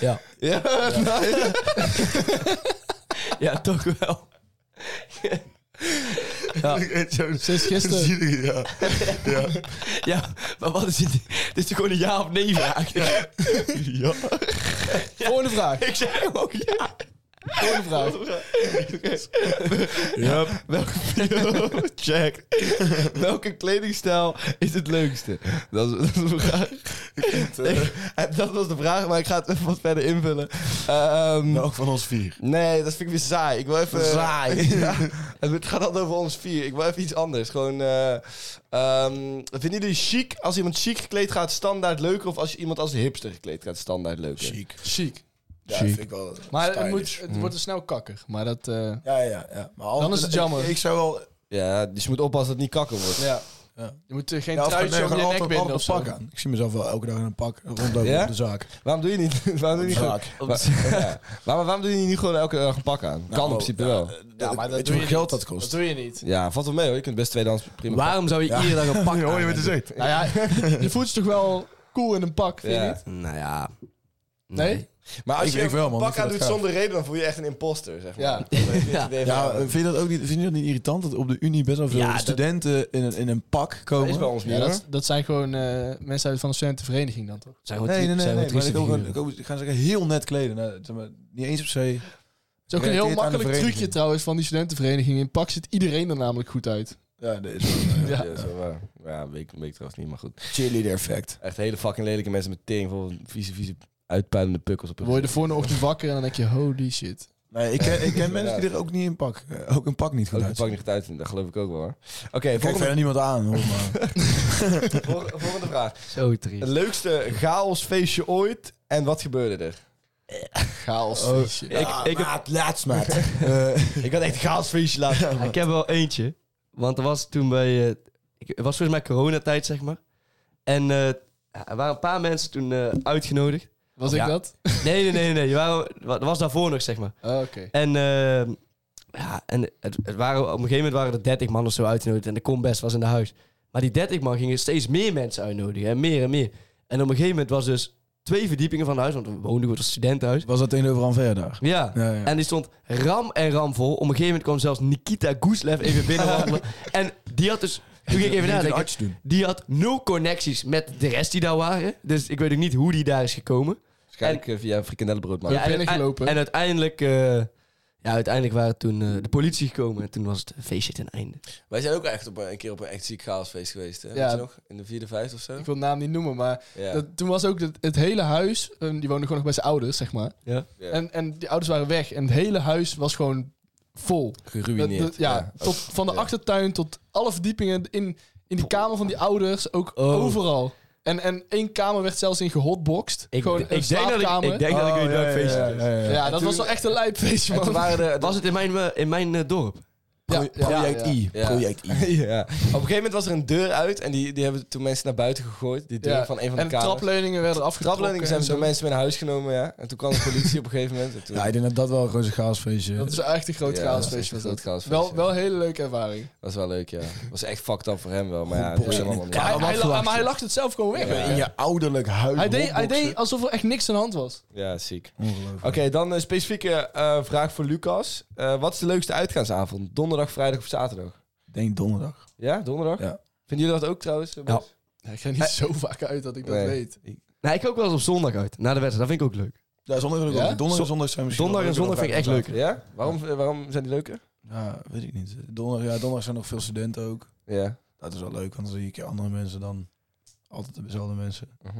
S5: Ja.
S2: Ja, nou ja.
S5: Ja, toch wel.
S3: Sinds gisteren.
S4: Ja. Ja.
S5: Ja, maar wat is dit? Dit is toch gewoon een ja of nee vraag?
S4: ja.
S3: Volgende vraag.
S5: Ik zeg hem ook ja.
S3: Volgende vraag.
S4: Yep.
S2: Check. Welke kledingstijl is het leukste? Dat is, dat is een vraag.
S3: eh,
S2: En dat was de vraag, maar ik ga het even wat verder invullen. Ehm,
S4: Welk van ons vier?
S2: Nee, dat vind ik weer saai. Ik wil even...
S5: Saai.
S2: Ja, het gaat altijd over ons vier. Ik wil even iets anders. Gewoon, eh ehm, vinden jullie chic, als iemand chic gekleed gaat, standaard leuker? Of als iemand als hipster gekleed gaat, standaard leuker?
S4: Chic.
S3: Chic.
S4: Ja, vind ik wel
S3: Maar het,
S4: stylish.
S3: moet, het wordt er snel kakker. Maar dat... eh,
S4: Ja, ja, ja. Maar als-
S3: Dan is het jammer.
S4: Ik, ik zou wel...
S2: Ja, dus je moet oppassen dat het niet kakker wordt.
S3: ja.
S4: Ja.
S3: Je moet eh, geen
S4: Ja, of gewoon-
S3: truitje
S4: nee,
S3: om je
S4: gewoon
S3: nek
S4: altijd-
S3: binden of
S4: altijd
S3: zo.
S4: een pak aan. Ik zie mezelf wel elke dag in een pak rondlopen
S2: Ja?
S4: op de zaak.
S2: Waarom doe je niet... Waarom doe je niet, gewoon-
S4: Zaak.
S2: Wa- ja. waarom, waarom doe je niet gewoon elke dag een pak aan? kan in principe wel.
S4: Nou, Ja, maar dat
S3: doe
S4: doe je
S3: je
S4: geld dat
S3: Dat
S4: kost.
S3: doe je niet.
S2: Ja, valt wel mee hoor. Je kunt best tweedehands prima...
S5: Waarom zou je iedere dag een pak
S4: hoor je met de
S5: aan
S4: zeep.
S3: Nou ja, je voelt je toch wel cool in een pak, vind je
S2: Ja.
S3: niet?
S5: hebben? Nou ja.
S3: Nee?
S2: Maar als
S4: Ik-
S2: je
S4: ik
S2: een
S4: wel, man. Ik
S2: pak
S4: vind
S2: aan
S4: dat
S2: doet
S4: gaaf.
S2: zonder reden, dan voel je je echt een imposter, zeg maar.
S3: Ja.
S5: Ja.
S4: Ja, vind je dat ook niet, vind je dat niet irritant dat op de Unie best wel veel
S5: Ja, dat-
S4: studenten in, een, in een pak
S2: dat is bij
S4: komen?
S2: ons niet
S3: Ja,
S2: hoor.
S3: dat, dat zijn gewoon eh, mensen uit van de studentenvereniging dan toch?
S5: Zijn we
S4: Nee, nee, nee. nee,
S5: zijn we
S4: maar die
S5: trieste
S4: komen,
S5: figuren?
S4: komen- die gaan zich heel net kleden. Nou, zeg maar, niet eens op zee.
S3: Het is ook een
S4: Relateert
S3: heel
S4: aan de
S3: makkelijk
S4: vereniging.
S3: trucje trouwens van die studentenvereniging. In pak zit iedereen er namelijk goed uit.
S4: Ja, dat is wel
S3: Ja.
S2: Ja, dat is wel eh, waar. Ja, weet ik, weet ik trouwens niet, maar goed.
S4: cheerleader effect.
S2: Echt hele fucking lelijke mensen met tering vol vieze, vieze, uitpuilende pukkels op
S3: Dan
S2: hun
S3: word je de volgende ochtend wakker en dan denk je, holy shit.
S4: Nee, ik ken, ik ken
S2: Ja.
S4: mensen die er ook niet in pak. eh, Ook een pak niet goed
S2: Ook de
S4: uit.
S2: pak niet goed uitzien, dat geloof ik ook wel hoor. Oké,
S4: Ik kijk
S2: volgende,
S4: verder niemand aan. Hoor, maar.
S2: volgende, volgende vraag.
S5: Zo triest.
S2: Het leukste chaosfeestje ooit en wat gebeurde er?
S3: Chaos.
S4: Oh,
S3: feestje.
S4: ik, ik maat, laatst maat. Eh,
S2: Ik had echt chaosfeestje laten.
S5: Ja, ik heb wel eentje. Want er was toen bij... eh, ik, het was volgens mij coronatijd, zeg maar. En eh, er waren een paar mensen toen eh, uitgenodigd.
S3: Was
S5: Ja.
S3: ik dat?
S5: Nee, nee, nee. nee. Er waren- er was daarvoor nog, zeg maar.
S3: Oh, Oké.
S5: En, eh, ja, en het, het waren, op een gegeven moment waren er 30 man of zo uitgenodigd. En de combest was in de huis. Maar die 30 man gingen steeds meer mensen uitnodigen. En meer en meer. En op een gegeven moment was dus twee verdiepingen van het huis. Want we woonden op een studentenhuis.
S4: was dat tegenover Anver daar?
S5: Ja.
S4: Ja, ja.
S5: En die stond ram en ram vol. Op een gegeven moment kwam zelfs Nikita Goeslev even binnenwandelen. en die had dus... Toen ging ik even
S4: Die moet een
S5: nadenken.
S4: arts doen.
S5: Die had nul connecties met de rest die daar waren. Dus ik weet ook niet hoe die daar is gekomen.
S2: Waarschijnlijk eh, via frikandellenbrood maken.
S3: Ja. binnengelopen.
S5: En uiteindelijk... eh, ja, uiteindelijk waren toen eh, de politie gekomen en toen was het feestje ten einde.
S2: Wij zijn ook echt op een, een keer op een echt ziek chaosfeest geweest, hè?
S3: Ja.
S2: Weet je nog? In de vierde, vijfde of zo?
S3: Ik wil de naam niet noemen, maar
S2: Ja.
S3: dat, toen was ook het, het hele huis... eh, die woonde gewoon nog bij zijn ouders, zeg maar.
S5: Ja.
S2: Ja.
S3: En, en die ouders waren weg en het hele huis was gewoon vol.
S2: Geruineerd.
S3: Dat- dat- ja, tot, van de
S2: ja.
S3: achtertuin tot alle verdiepingen in, in de kamer van die ouders, ook
S5: Oh.
S3: overal. En, en één kamer werd zelfs in gehotboxed.
S5: Ik,
S3: Gewoon een
S5: ik, denk dat ik,
S3: slaapkamer. Oh.
S5: ik denk dat ik weet welk feestje het is.
S3: ja, dat was wel echt een lijpfeestje,
S2: En
S3: man.
S2: toen waren er...
S5: Was het in mijn, eh, in mijn eh, dorp?
S3: Ja, ja,
S4: Project
S3: ja.
S4: I.
S2: Ja.
S4: Project I.
S2: ja. Op een gegeven moment was er een deur uit en die, die hebben toen mensen naar buiten gegooid. Die deur
S3: Ja.
S2: van een van de
S3: en de
S2: kamers.
S3: trapleuningen werden afgetrokken.
S2: Trapleuningen zijn
S3: en
S2: door mensen mee naar huis genomen, ja. En toen kwam de politie op een gegeven moment. En toen...
S4: Ja, ik denk dat dat wel een grote chaosfeestje
S3: Dat is echt een groot
S2: Ja, dat is echt
S3: chaosfeestje.
S2: een
S3: was dat.
S2: groot chaosfeestje,
S3: Wel,
S2: ja.
S3: wel een hele leuke ervaring.
S2: was wel leuk, ja. Was echt fucked up voor hem wel, maar ja.
S4: Goed boksen
S2: dat
S4: in
S2: is
S4: een
S2: allemaal-
S4: kamer.
S3: hij,
S4: wat
S3: hij-
S4: verwacht
S3: maar hij
S4: je?
S3: lacht het zelf gewoon weg.
S4: Ja, In je ouderlijk huis.
S3: Hij, deed, hij
S4: hotboxen.
S3: deed alsof er echt niks aan de hand was.
S2: Ja, ziek.
S4: Ongelooflijk.
S2: Oké, dan een specifieke eh, vraag voor Lucas. Eh, wat is de leukste uitgaansavond? Donderdag, vrijdag of zaterdag?
S4: Ik denk donderdag.
S2: Ja, donderdag?
S4: Ja.
S2: Vinden jullie dat ook trouwens? eh, boys?
S3: Ik ga niet zo vaak uit dat ik dat
S2: Nee.
S3: weet.
S5: Nou, ik ook wel eens op zondag uit, na de wedstrijd. Dat vind ik ook leuk.
S4: Ja, zondag vind ik
S3: Ja?
S4: ook. Donderdag en zondag zijn misschien
S5: Donderdag en
S4: wel
S5: zondag vind ik echt
S4: leuker
S5: leuker.
S2: Ja? Waarom, eh, waarom zijn die leuker?
S4: dan vrijdag. Ja, weet ik niet. Donderdag, ja, donderdag zijn nog veel studenten ook.
S2: Ja.
S4: Dat is wel leuk, want dan zie ik andere mensen dan altijd dezelfde mensen.
S2: Mhm.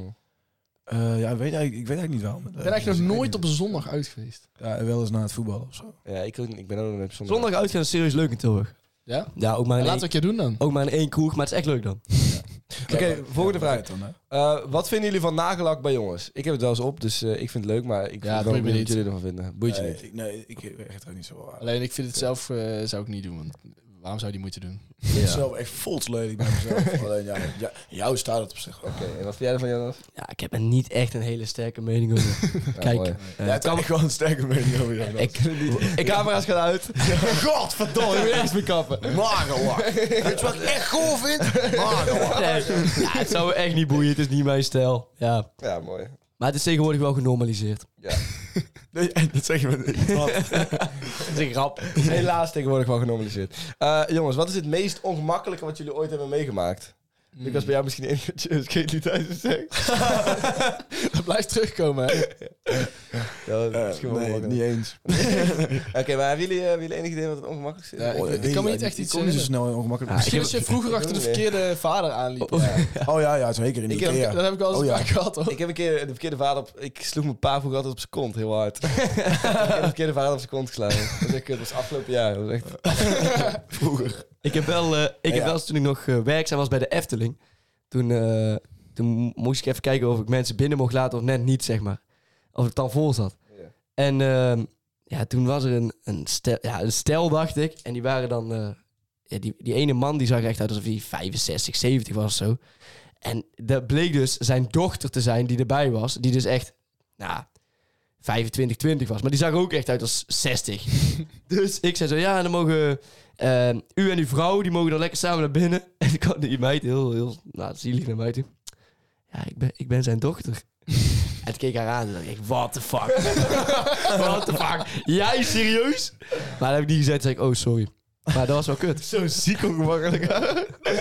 S4: Eh, ja, ik weet eigenlijk, ik weet eigenlijk niet waarom. eh,
S3: Ik ben eigenlijk nog nooit op een zondag uit geweest.
S4: Ja, wel eens na het voetballen of zo.
S2: Ja, ik, ook niet. ik ben ook nog op zondag.
S5: Zondag uitgaan is serieus leuk in Tilburg.
S3: Ja?
S5: Ja, ook maar
S3: Laten
S5: in,
S3: we
S5: één,
S3: een keer doen dan.
S5: ook maar in één kroeg, maar het is echt leuk dan.
S2: Oké, volgende
S4: Ja,
S2: vraag.
S4: dat dan, hè.
S2: Eh, wat vinden jullie van nagellak bij jongens? Ik heb het wel eens op, dus eh, ik vind het leuk, maar ik
S3: Ja,
S2: vind
S3: boeit
S2: wel
S3: me
S2: benieuwd
S3: niet.
S2: wat jullie ervan vinden. Boeit je
S4: Nee,
S2: niet.
S4: ik- Nee, ik heb echt ook niet zo waar.
S3: Alleen ik vind het zelf eh, zou ik niet doen. Want waarom zou je die moeite doen?
S4: Ik vind het zelf echt volsledig bij mezelf. Alleen, ja, ja, jou staat het op zich.
S2: Oké, en wat vind jij ervan, Jonas?
S5: Ja, ik heb er niet echt een hele sterke mening over. Kijk,
S2: mooi.
S5: eh,
S4: Ja, het kan ik gewoon sterker mening over jou.
S5: ik, ik,
S2: Camera's gaan uit.
S4: Godverdomme,
S2: Ik wil eens mee kappen.
S4: Magelak. Weet je wat ik echt cool vind? Magelak.
S5: nee, ja, het zou me echt niet boeien. Het is niet mijn stijl. Ja.
S2: Ja, mooi.
S5: Maar het is tegenwoordig wel genormaliseerd.
S4: Nee, dat zeg je maar niet.
S5: Dat is een grap.
S2: Helaas tegenwoordig wel genormaliseerd. Eh, jongens, wat is het meest ongemakkelijke wat jullie ooit hebben meegemaakt? Ik was bij jou misschien in de skate tijdens seks.
S3: Dat blijft terugkomen, hè?
S2: Ja, dat is
S4: Eh,
S2: misschien wel
S4: nee,
S2: ongemakkelijk.
S4: niet eens.
S2: Oké, maar hebben jullie, eh, hebben jullie enig idee wat het ongemakkelijkste is?
S3: Ja,
S4: Oh,
S3: ik- ik kan me niet echt iets
S4: kom niet zo
S3: herinneren.
S4: snel en ongemakkelijk.
S3: Misschien als je vroeger achter de
S2: weet het
S3: verkeerde vader aanliep.
S4: Oh ja, ja, zeker in de
S2: Ik heb-
S4: Ikea.
S3: Dat heb ik al eens
S4: Oh, ja.
S3: vaak gehad, hoor.
S2: Ik heb een keer de verkeerde vader op... Ik sloeg mijn pa vroeger altijd op zijn kont, heel hard. ik heb de verkeerde vader op zijn kont geslagen. Dat was echt kut, dat was afgelopen jaar. Dat was echt...
S4: vroeger.
S5: Ik heb wel, eh, ik heb
S4: Ja.
S5: wel eens toen ik nog eh, werkzaam was bij de Efteling. Toen, eh, toen moest ik even kijken of ik mensen binnen mocht laten of net niet, zeg maar. Of het dan vol zat.
S2: Ja.
S5: En ehm, ja, toen was er een, een, stel, ja, een stel, dacht ik. En die waren dan... eh, ja, die, die ene man die zag er echt uit alsof hij 65, 70 was of zo. En dat bleek dus zijn dochter te zijn die erbij was. Die dus echt, nou, 25, 20 was. Maar die zag er ook echt uit als 60. dus ik zei zo, ja, en dan mogen... eh, u en uw vrouw, die mogen dan lekker samen naar binnen. En dan kwam die meid heel, heel nou, zielig naar mij toe. Ja, ik ben, ik ben zijn dochter. en toen keek ik haar aan en dacht ik, what the fuck? what the fuck? Jij serieus? Maar dat heb ik niet gezegd. zei ik, oh, sorry. Maar dat was wel kut.
S4: Zo ziek ongemakkelijk.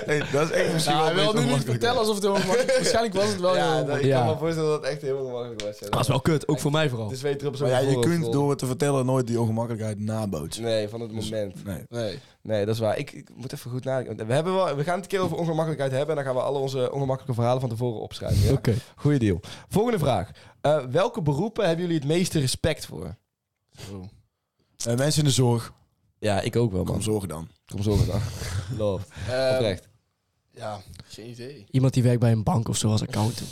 S4: Nee, dat is echt misschien
S3: Nou, hij
S4: wel
S3: wil nu niet vertellen alsof het heel ongemakkelijk Waarschijnlijk was het wel heel
S2: Ja, dat-
S3: ongemakkelijk.
S2: ik kan
S5: Ja.
S2: me voorstellen dat het echt heel ongemakkelijk was. ja. Dus
S5: Dat was wel kut, ook voor mij vooral.
S2: Het is weer terug op zo'n
S4: Maar ja, je
S2: gevoel
S4: kunt
S2: op-
S4: door Dus- het te vertellen nooit die ongemakkelijkheid nabootsen.
S2: Nee, van het moment.
S4: Nee.
S3: Nee.
S2: Nee, dat is waar. Ik, ik moet even goed nadenken. We, hebben wel, we gaan het een keer over ongemakkelijkheid hebben. En dan gaan we alle onze ongemakkelijke verhalen van tevoren opschrijven. Ja?
S5: Oké.
S2: Goeie deal. Volgende vraag. Eh, welke beroepen hebben jullie het meeste respect voor?
S4: Eh, mensen in de zorg.
S2: Ja, ik ook wel,
S4: Kom zorgen dan.
S2: Kom zo dan. Love.
S3: Ehm,
S2: Oprecht.
S3: ja, geen idee.
S5: Iemand die werkt bij een bank of zo als accountant.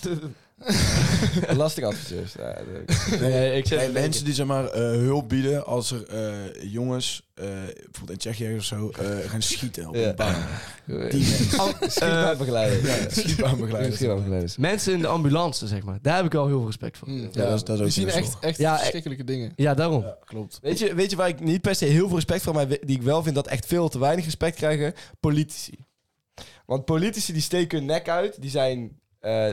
S2: Belastingadviseurs. Ja, dat weet ik.
S5: Nee, ik
S4: Nee, mensen die zeg maar eh, hulp bieden als er eh, jongens, eh, bijvoorbeeld in Tsjechië of zo, eh, gaan schieten op
S2: Ja.
S4: een baan.
S2: Die
S5: Eh,
S2: schietbaanbegeleider. Ja,
S4: Schietbaanbegeleider.
S2: schietbaanbegeleiders.
S5: Mensen in de ambulance, zeg maar. Daar heb ik wel heel veel respect voor.
S3: Hm.
S4: Ja, dat is- dat is
S3: Die
S4: ook
S3: zien
S4: heel
S3: echt,
S4: zorg.
S3: echt
S5: Ja,
S3: verschrikkelijke dingen.
S5: Ja, daarom.
S4: Klopt.
S2: Weet je, weet je waar ik niet per se heel veel respect voor, maar we- die ik wel vind dat echt veel te weinig respect krijgen? Politici. Want politici die steken hun nek uit, die zijn eh,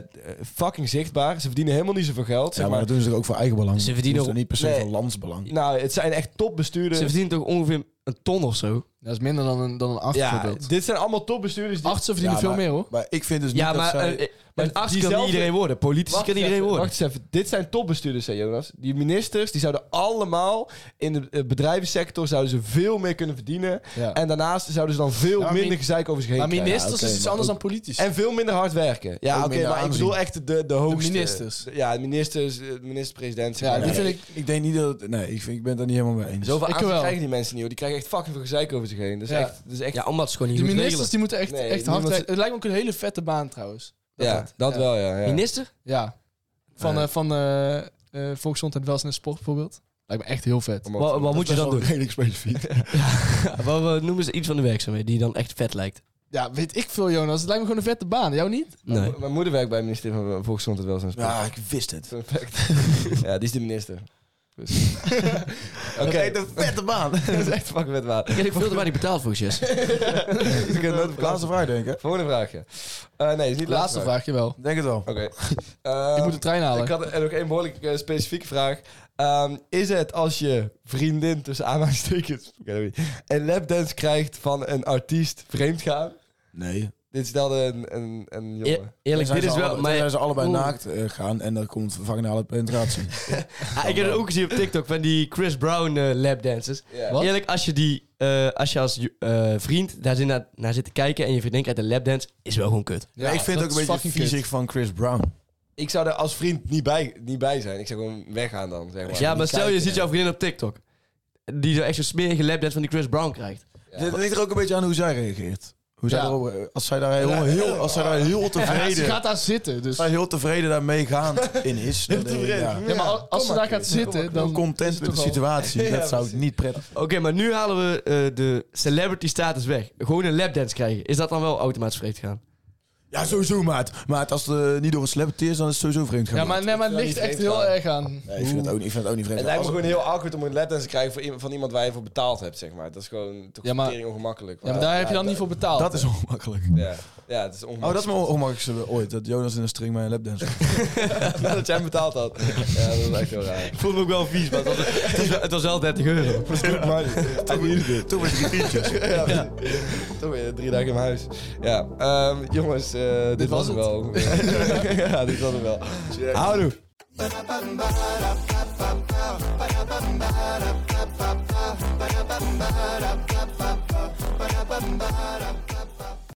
S2: fucking zichtbaar. Ze verdienen helemaal niet zoveel geld.
S4: Ja,
S2: Zeg
S4: maar
S2: maar.
S4: dat doen ze toch ook voor eigen belang.
S5: Ze verdienen
S4: Dat is toch niet per se
S2: Nee.
S4: van landsbelang.
S2: Nou, het zijn echt
S5: Ze
S2: topbestuurders.
S5: verdienen toch ongeveer een ton of zo.
S3: Dat is minder dan een, dan een arts
S2: Ja,
S3: bijvoorbeeld.
S2: dit zijn allemaal topbestuurders die...
S3: Artsen verdienen
S4: Ja,
S3: veel
S4: maar-
S3: meer, hoor. eh,
S4: Maar ik vind dus niet
S5: Ja,
S4: dat
S5: maar
S4: zij...
S2: eh,
S5: een, een arts kan
S2: diezelfde-
S5: niet iedereen worden. Politici
S2: Wacht
S5: kan niet
S2: eens
S5: iedereen
S2: even,
S5: worden.
S2: Wacht eens even. Dit zijn topbestuurders, zei Jonas. Die ministers, die zouden allemaal in de eh, bedrijvensector zouden ze veel meer kunnen verdienen.
S3: Ja.
S2: En daarnaast zouden ze dan veel
S3: Ja, maar
S2: minder
S3: min-
S2: gezeik over zich heen
S3: Maar
S2: krijgen.
S3: ministers
S4: oké,
S3: is iets
S4: maar
S3: anders
S4: ook-
S3: dan politici.
S2: En veel minder hard werken. Ja,
S4: Ook
S2: oké,
S4: minder
S2: maar ik
S4: aanzien.
S2: bedoel echt de, de hoogste.
S3: ministers.
S2: Ja, de ministers, eh, de minister-president. zeg
S3: Ja,
S2: maar.
S3: die
S4: Nee,
S3: vind
S4: ik,
S3: ik-
S4: ik denk niet dat... het- Nee, ik, vind, ik ben het daar niet helemaal mee eens.
S2: Zoveel
S3: Ik
S2: aanzien
S3: wel.
S2: krijgen die mensen niet, hoor. Die krijgen echt fucking veel gezeik over zich heen. Dat is
S3: Ja.
S2: echt... Dat is echt
S5: Ja,
S2: ja,
S5: omdat ze gewoon niet
S3: Die
S5: goed
S3: ministers die moeten echt,
S2: Nee,
S3: echt hard
S2: niemand-
S3: werken. Het lijkt me ook een hele vette baan, trouwens.
S2: dat,
S3: dat- ja.
S2: wel, ja. ja.
S5: regelen. Minister?
S3: Ja. Van,
S4: Eh.
S3: eh, van eh eh volksgezondheid, welzijn en sport bijvoorbeeld. Lijkt me echt heel vet.
S2: Allemaal-
S5: Wat, wat moet je dan doen?
S4: redelijk specifiek.
S5: Wat, wat noemen ze iets van de werkzaamheden die dan echt vet lijkt?
S3: Ja, weet ik veel, Jonas. Het lijkt me gewoon een vette baan. Jou niet?
S2: Mijn
S5: Nee.
S2: mo- Mijn moeder werkt bij het ministerie van Volksgezondheid Welzijn en Sport.
S4: Ja, ik wist het.
S2: Perfect. ja, die is de minister. Dus. Oké,
S4: een vette baan.
S2: dat is echt fucking met water.
S5: Ik heb veel te weinig betaald voor Jess.
S2: Ik heb nooit verklaard.
S4: Laatste vraag, denk ik. hè?
S2: Volgende vraagje. Eh, nee, is niet de
S3: Laatste vraag, jawel.
S4: Denk het wel.
S2: Oké. Ehm,
S3: Ik moet de trein halen.
S2: ik had er nog één behoorlijk eh, specifieke vraag. Ehm, is het als je vriendin tussen aanhalingstekens ik weet het niet, een lapdance krijgt van een artiest vreemdgaan?
S4: Nee.
S2: Dit stelde een, een, een
S5: Eer-
S2: jongen.
S5: eerlijk, dit is wel...
S4: Maar zijn
S5: Maar,
S4: ze allebei
S5: Oeh.
S4: naakt eh, gaan en dan komt vaginale penetratie.
S5: Ah, ik heb het ook gezien op TikTok van die Chris Brown eh, lapdances.
S2: Ja.
S3: Wat?
S5: Eerlijk, als je, die, eh, als, je als eh, vriend daar zit naar, naar zit te kijken en je vriendin krijgt een lapdance, is wel gewoon kut.
S4: Ja, ik vind het
S3: dat
S4: ook een
S3: is
S4: beetje
S3: fucking
S4: fysiek van Chris Brown.
S2: Ik zou er als vriend niet bij, niet bij zijn. Ik zou gewoon weggaan dan, zeg maar.
S5: Ja,
S2: Niet
S5: maar stel je
S2: kijken.
S5: ziet jouw vriendin op TikTok. Die zo echt zo'n smerige lapdance van die Chris Brown krijkt.
S2: Ja.
S4: Dit ligt er ook een beetje aan hoe zij reageert. Hoe Hoe zij
S3: Ja.
S4: daarover- als zij daar heel, heel, als zij daar heel
S3: Ze
S4: tevreden...
S3: gaat daar zitten. Dus.
S4: als zij heel tevreden daarmee gaan in is. dan denk ik, ja,
S3: Ja, maar als ze daar gaat zitten,
S4: Dan
S3: dan...
S4: content met de situatie. dat zou ik niet prettig vinden.
S5: Oké, maar nu halen we eh, de celebrity status weg. Gewoon een lapdance krijgen. Is dat dan wel automatisch vreemd gaan?
S4: Ja, sowieso, maat. Maat, als het eh, niet door een celebrity is, dan is het sowieso vreemd gaan.
S3: Ja, maar, nee, maar het
S2: wel
S3: ligt
S2: niet
S3: echt
S2: vreemd
S3: heel
S2: gaan.
S3: erg aan.
S4: Nee, ik vind het ook niet, ik vind het ook niet vreemd.
S2: Het lijkt me gewoon heel awkward om een letdance te krijgen voor iemand- van iemand waar je voor betaald hebt, zeg maar. Dat is gewoon toch
S3: Ja, maar-
S2: tering ongemakkelijk.
S3: Ja, maar daar heb je dan niet voor betaald.
S4: Dat is ongemakkelijk.
S2: ja. Ja, het is
S4: Oh, dat
S2: ongemakkelijk.
S4: is mijn ongemakkelijkste ooit. Dat Jonas in een string bij een lapdance.
S2: dat, jij hem betaald had. Ja, dat is echt heel raar.
S5: Ik voelde me ook wel vies, maar het was, het was wel, het was wel 30 euro.
S4: Toen was het rietjes.
S2: Ja. Toen ben je drie dagen in mijn huis. Ja, ehm, jongens, eh, dit, was,
S3: was
S2: het wel. ja, dit was het wel. Houdoe.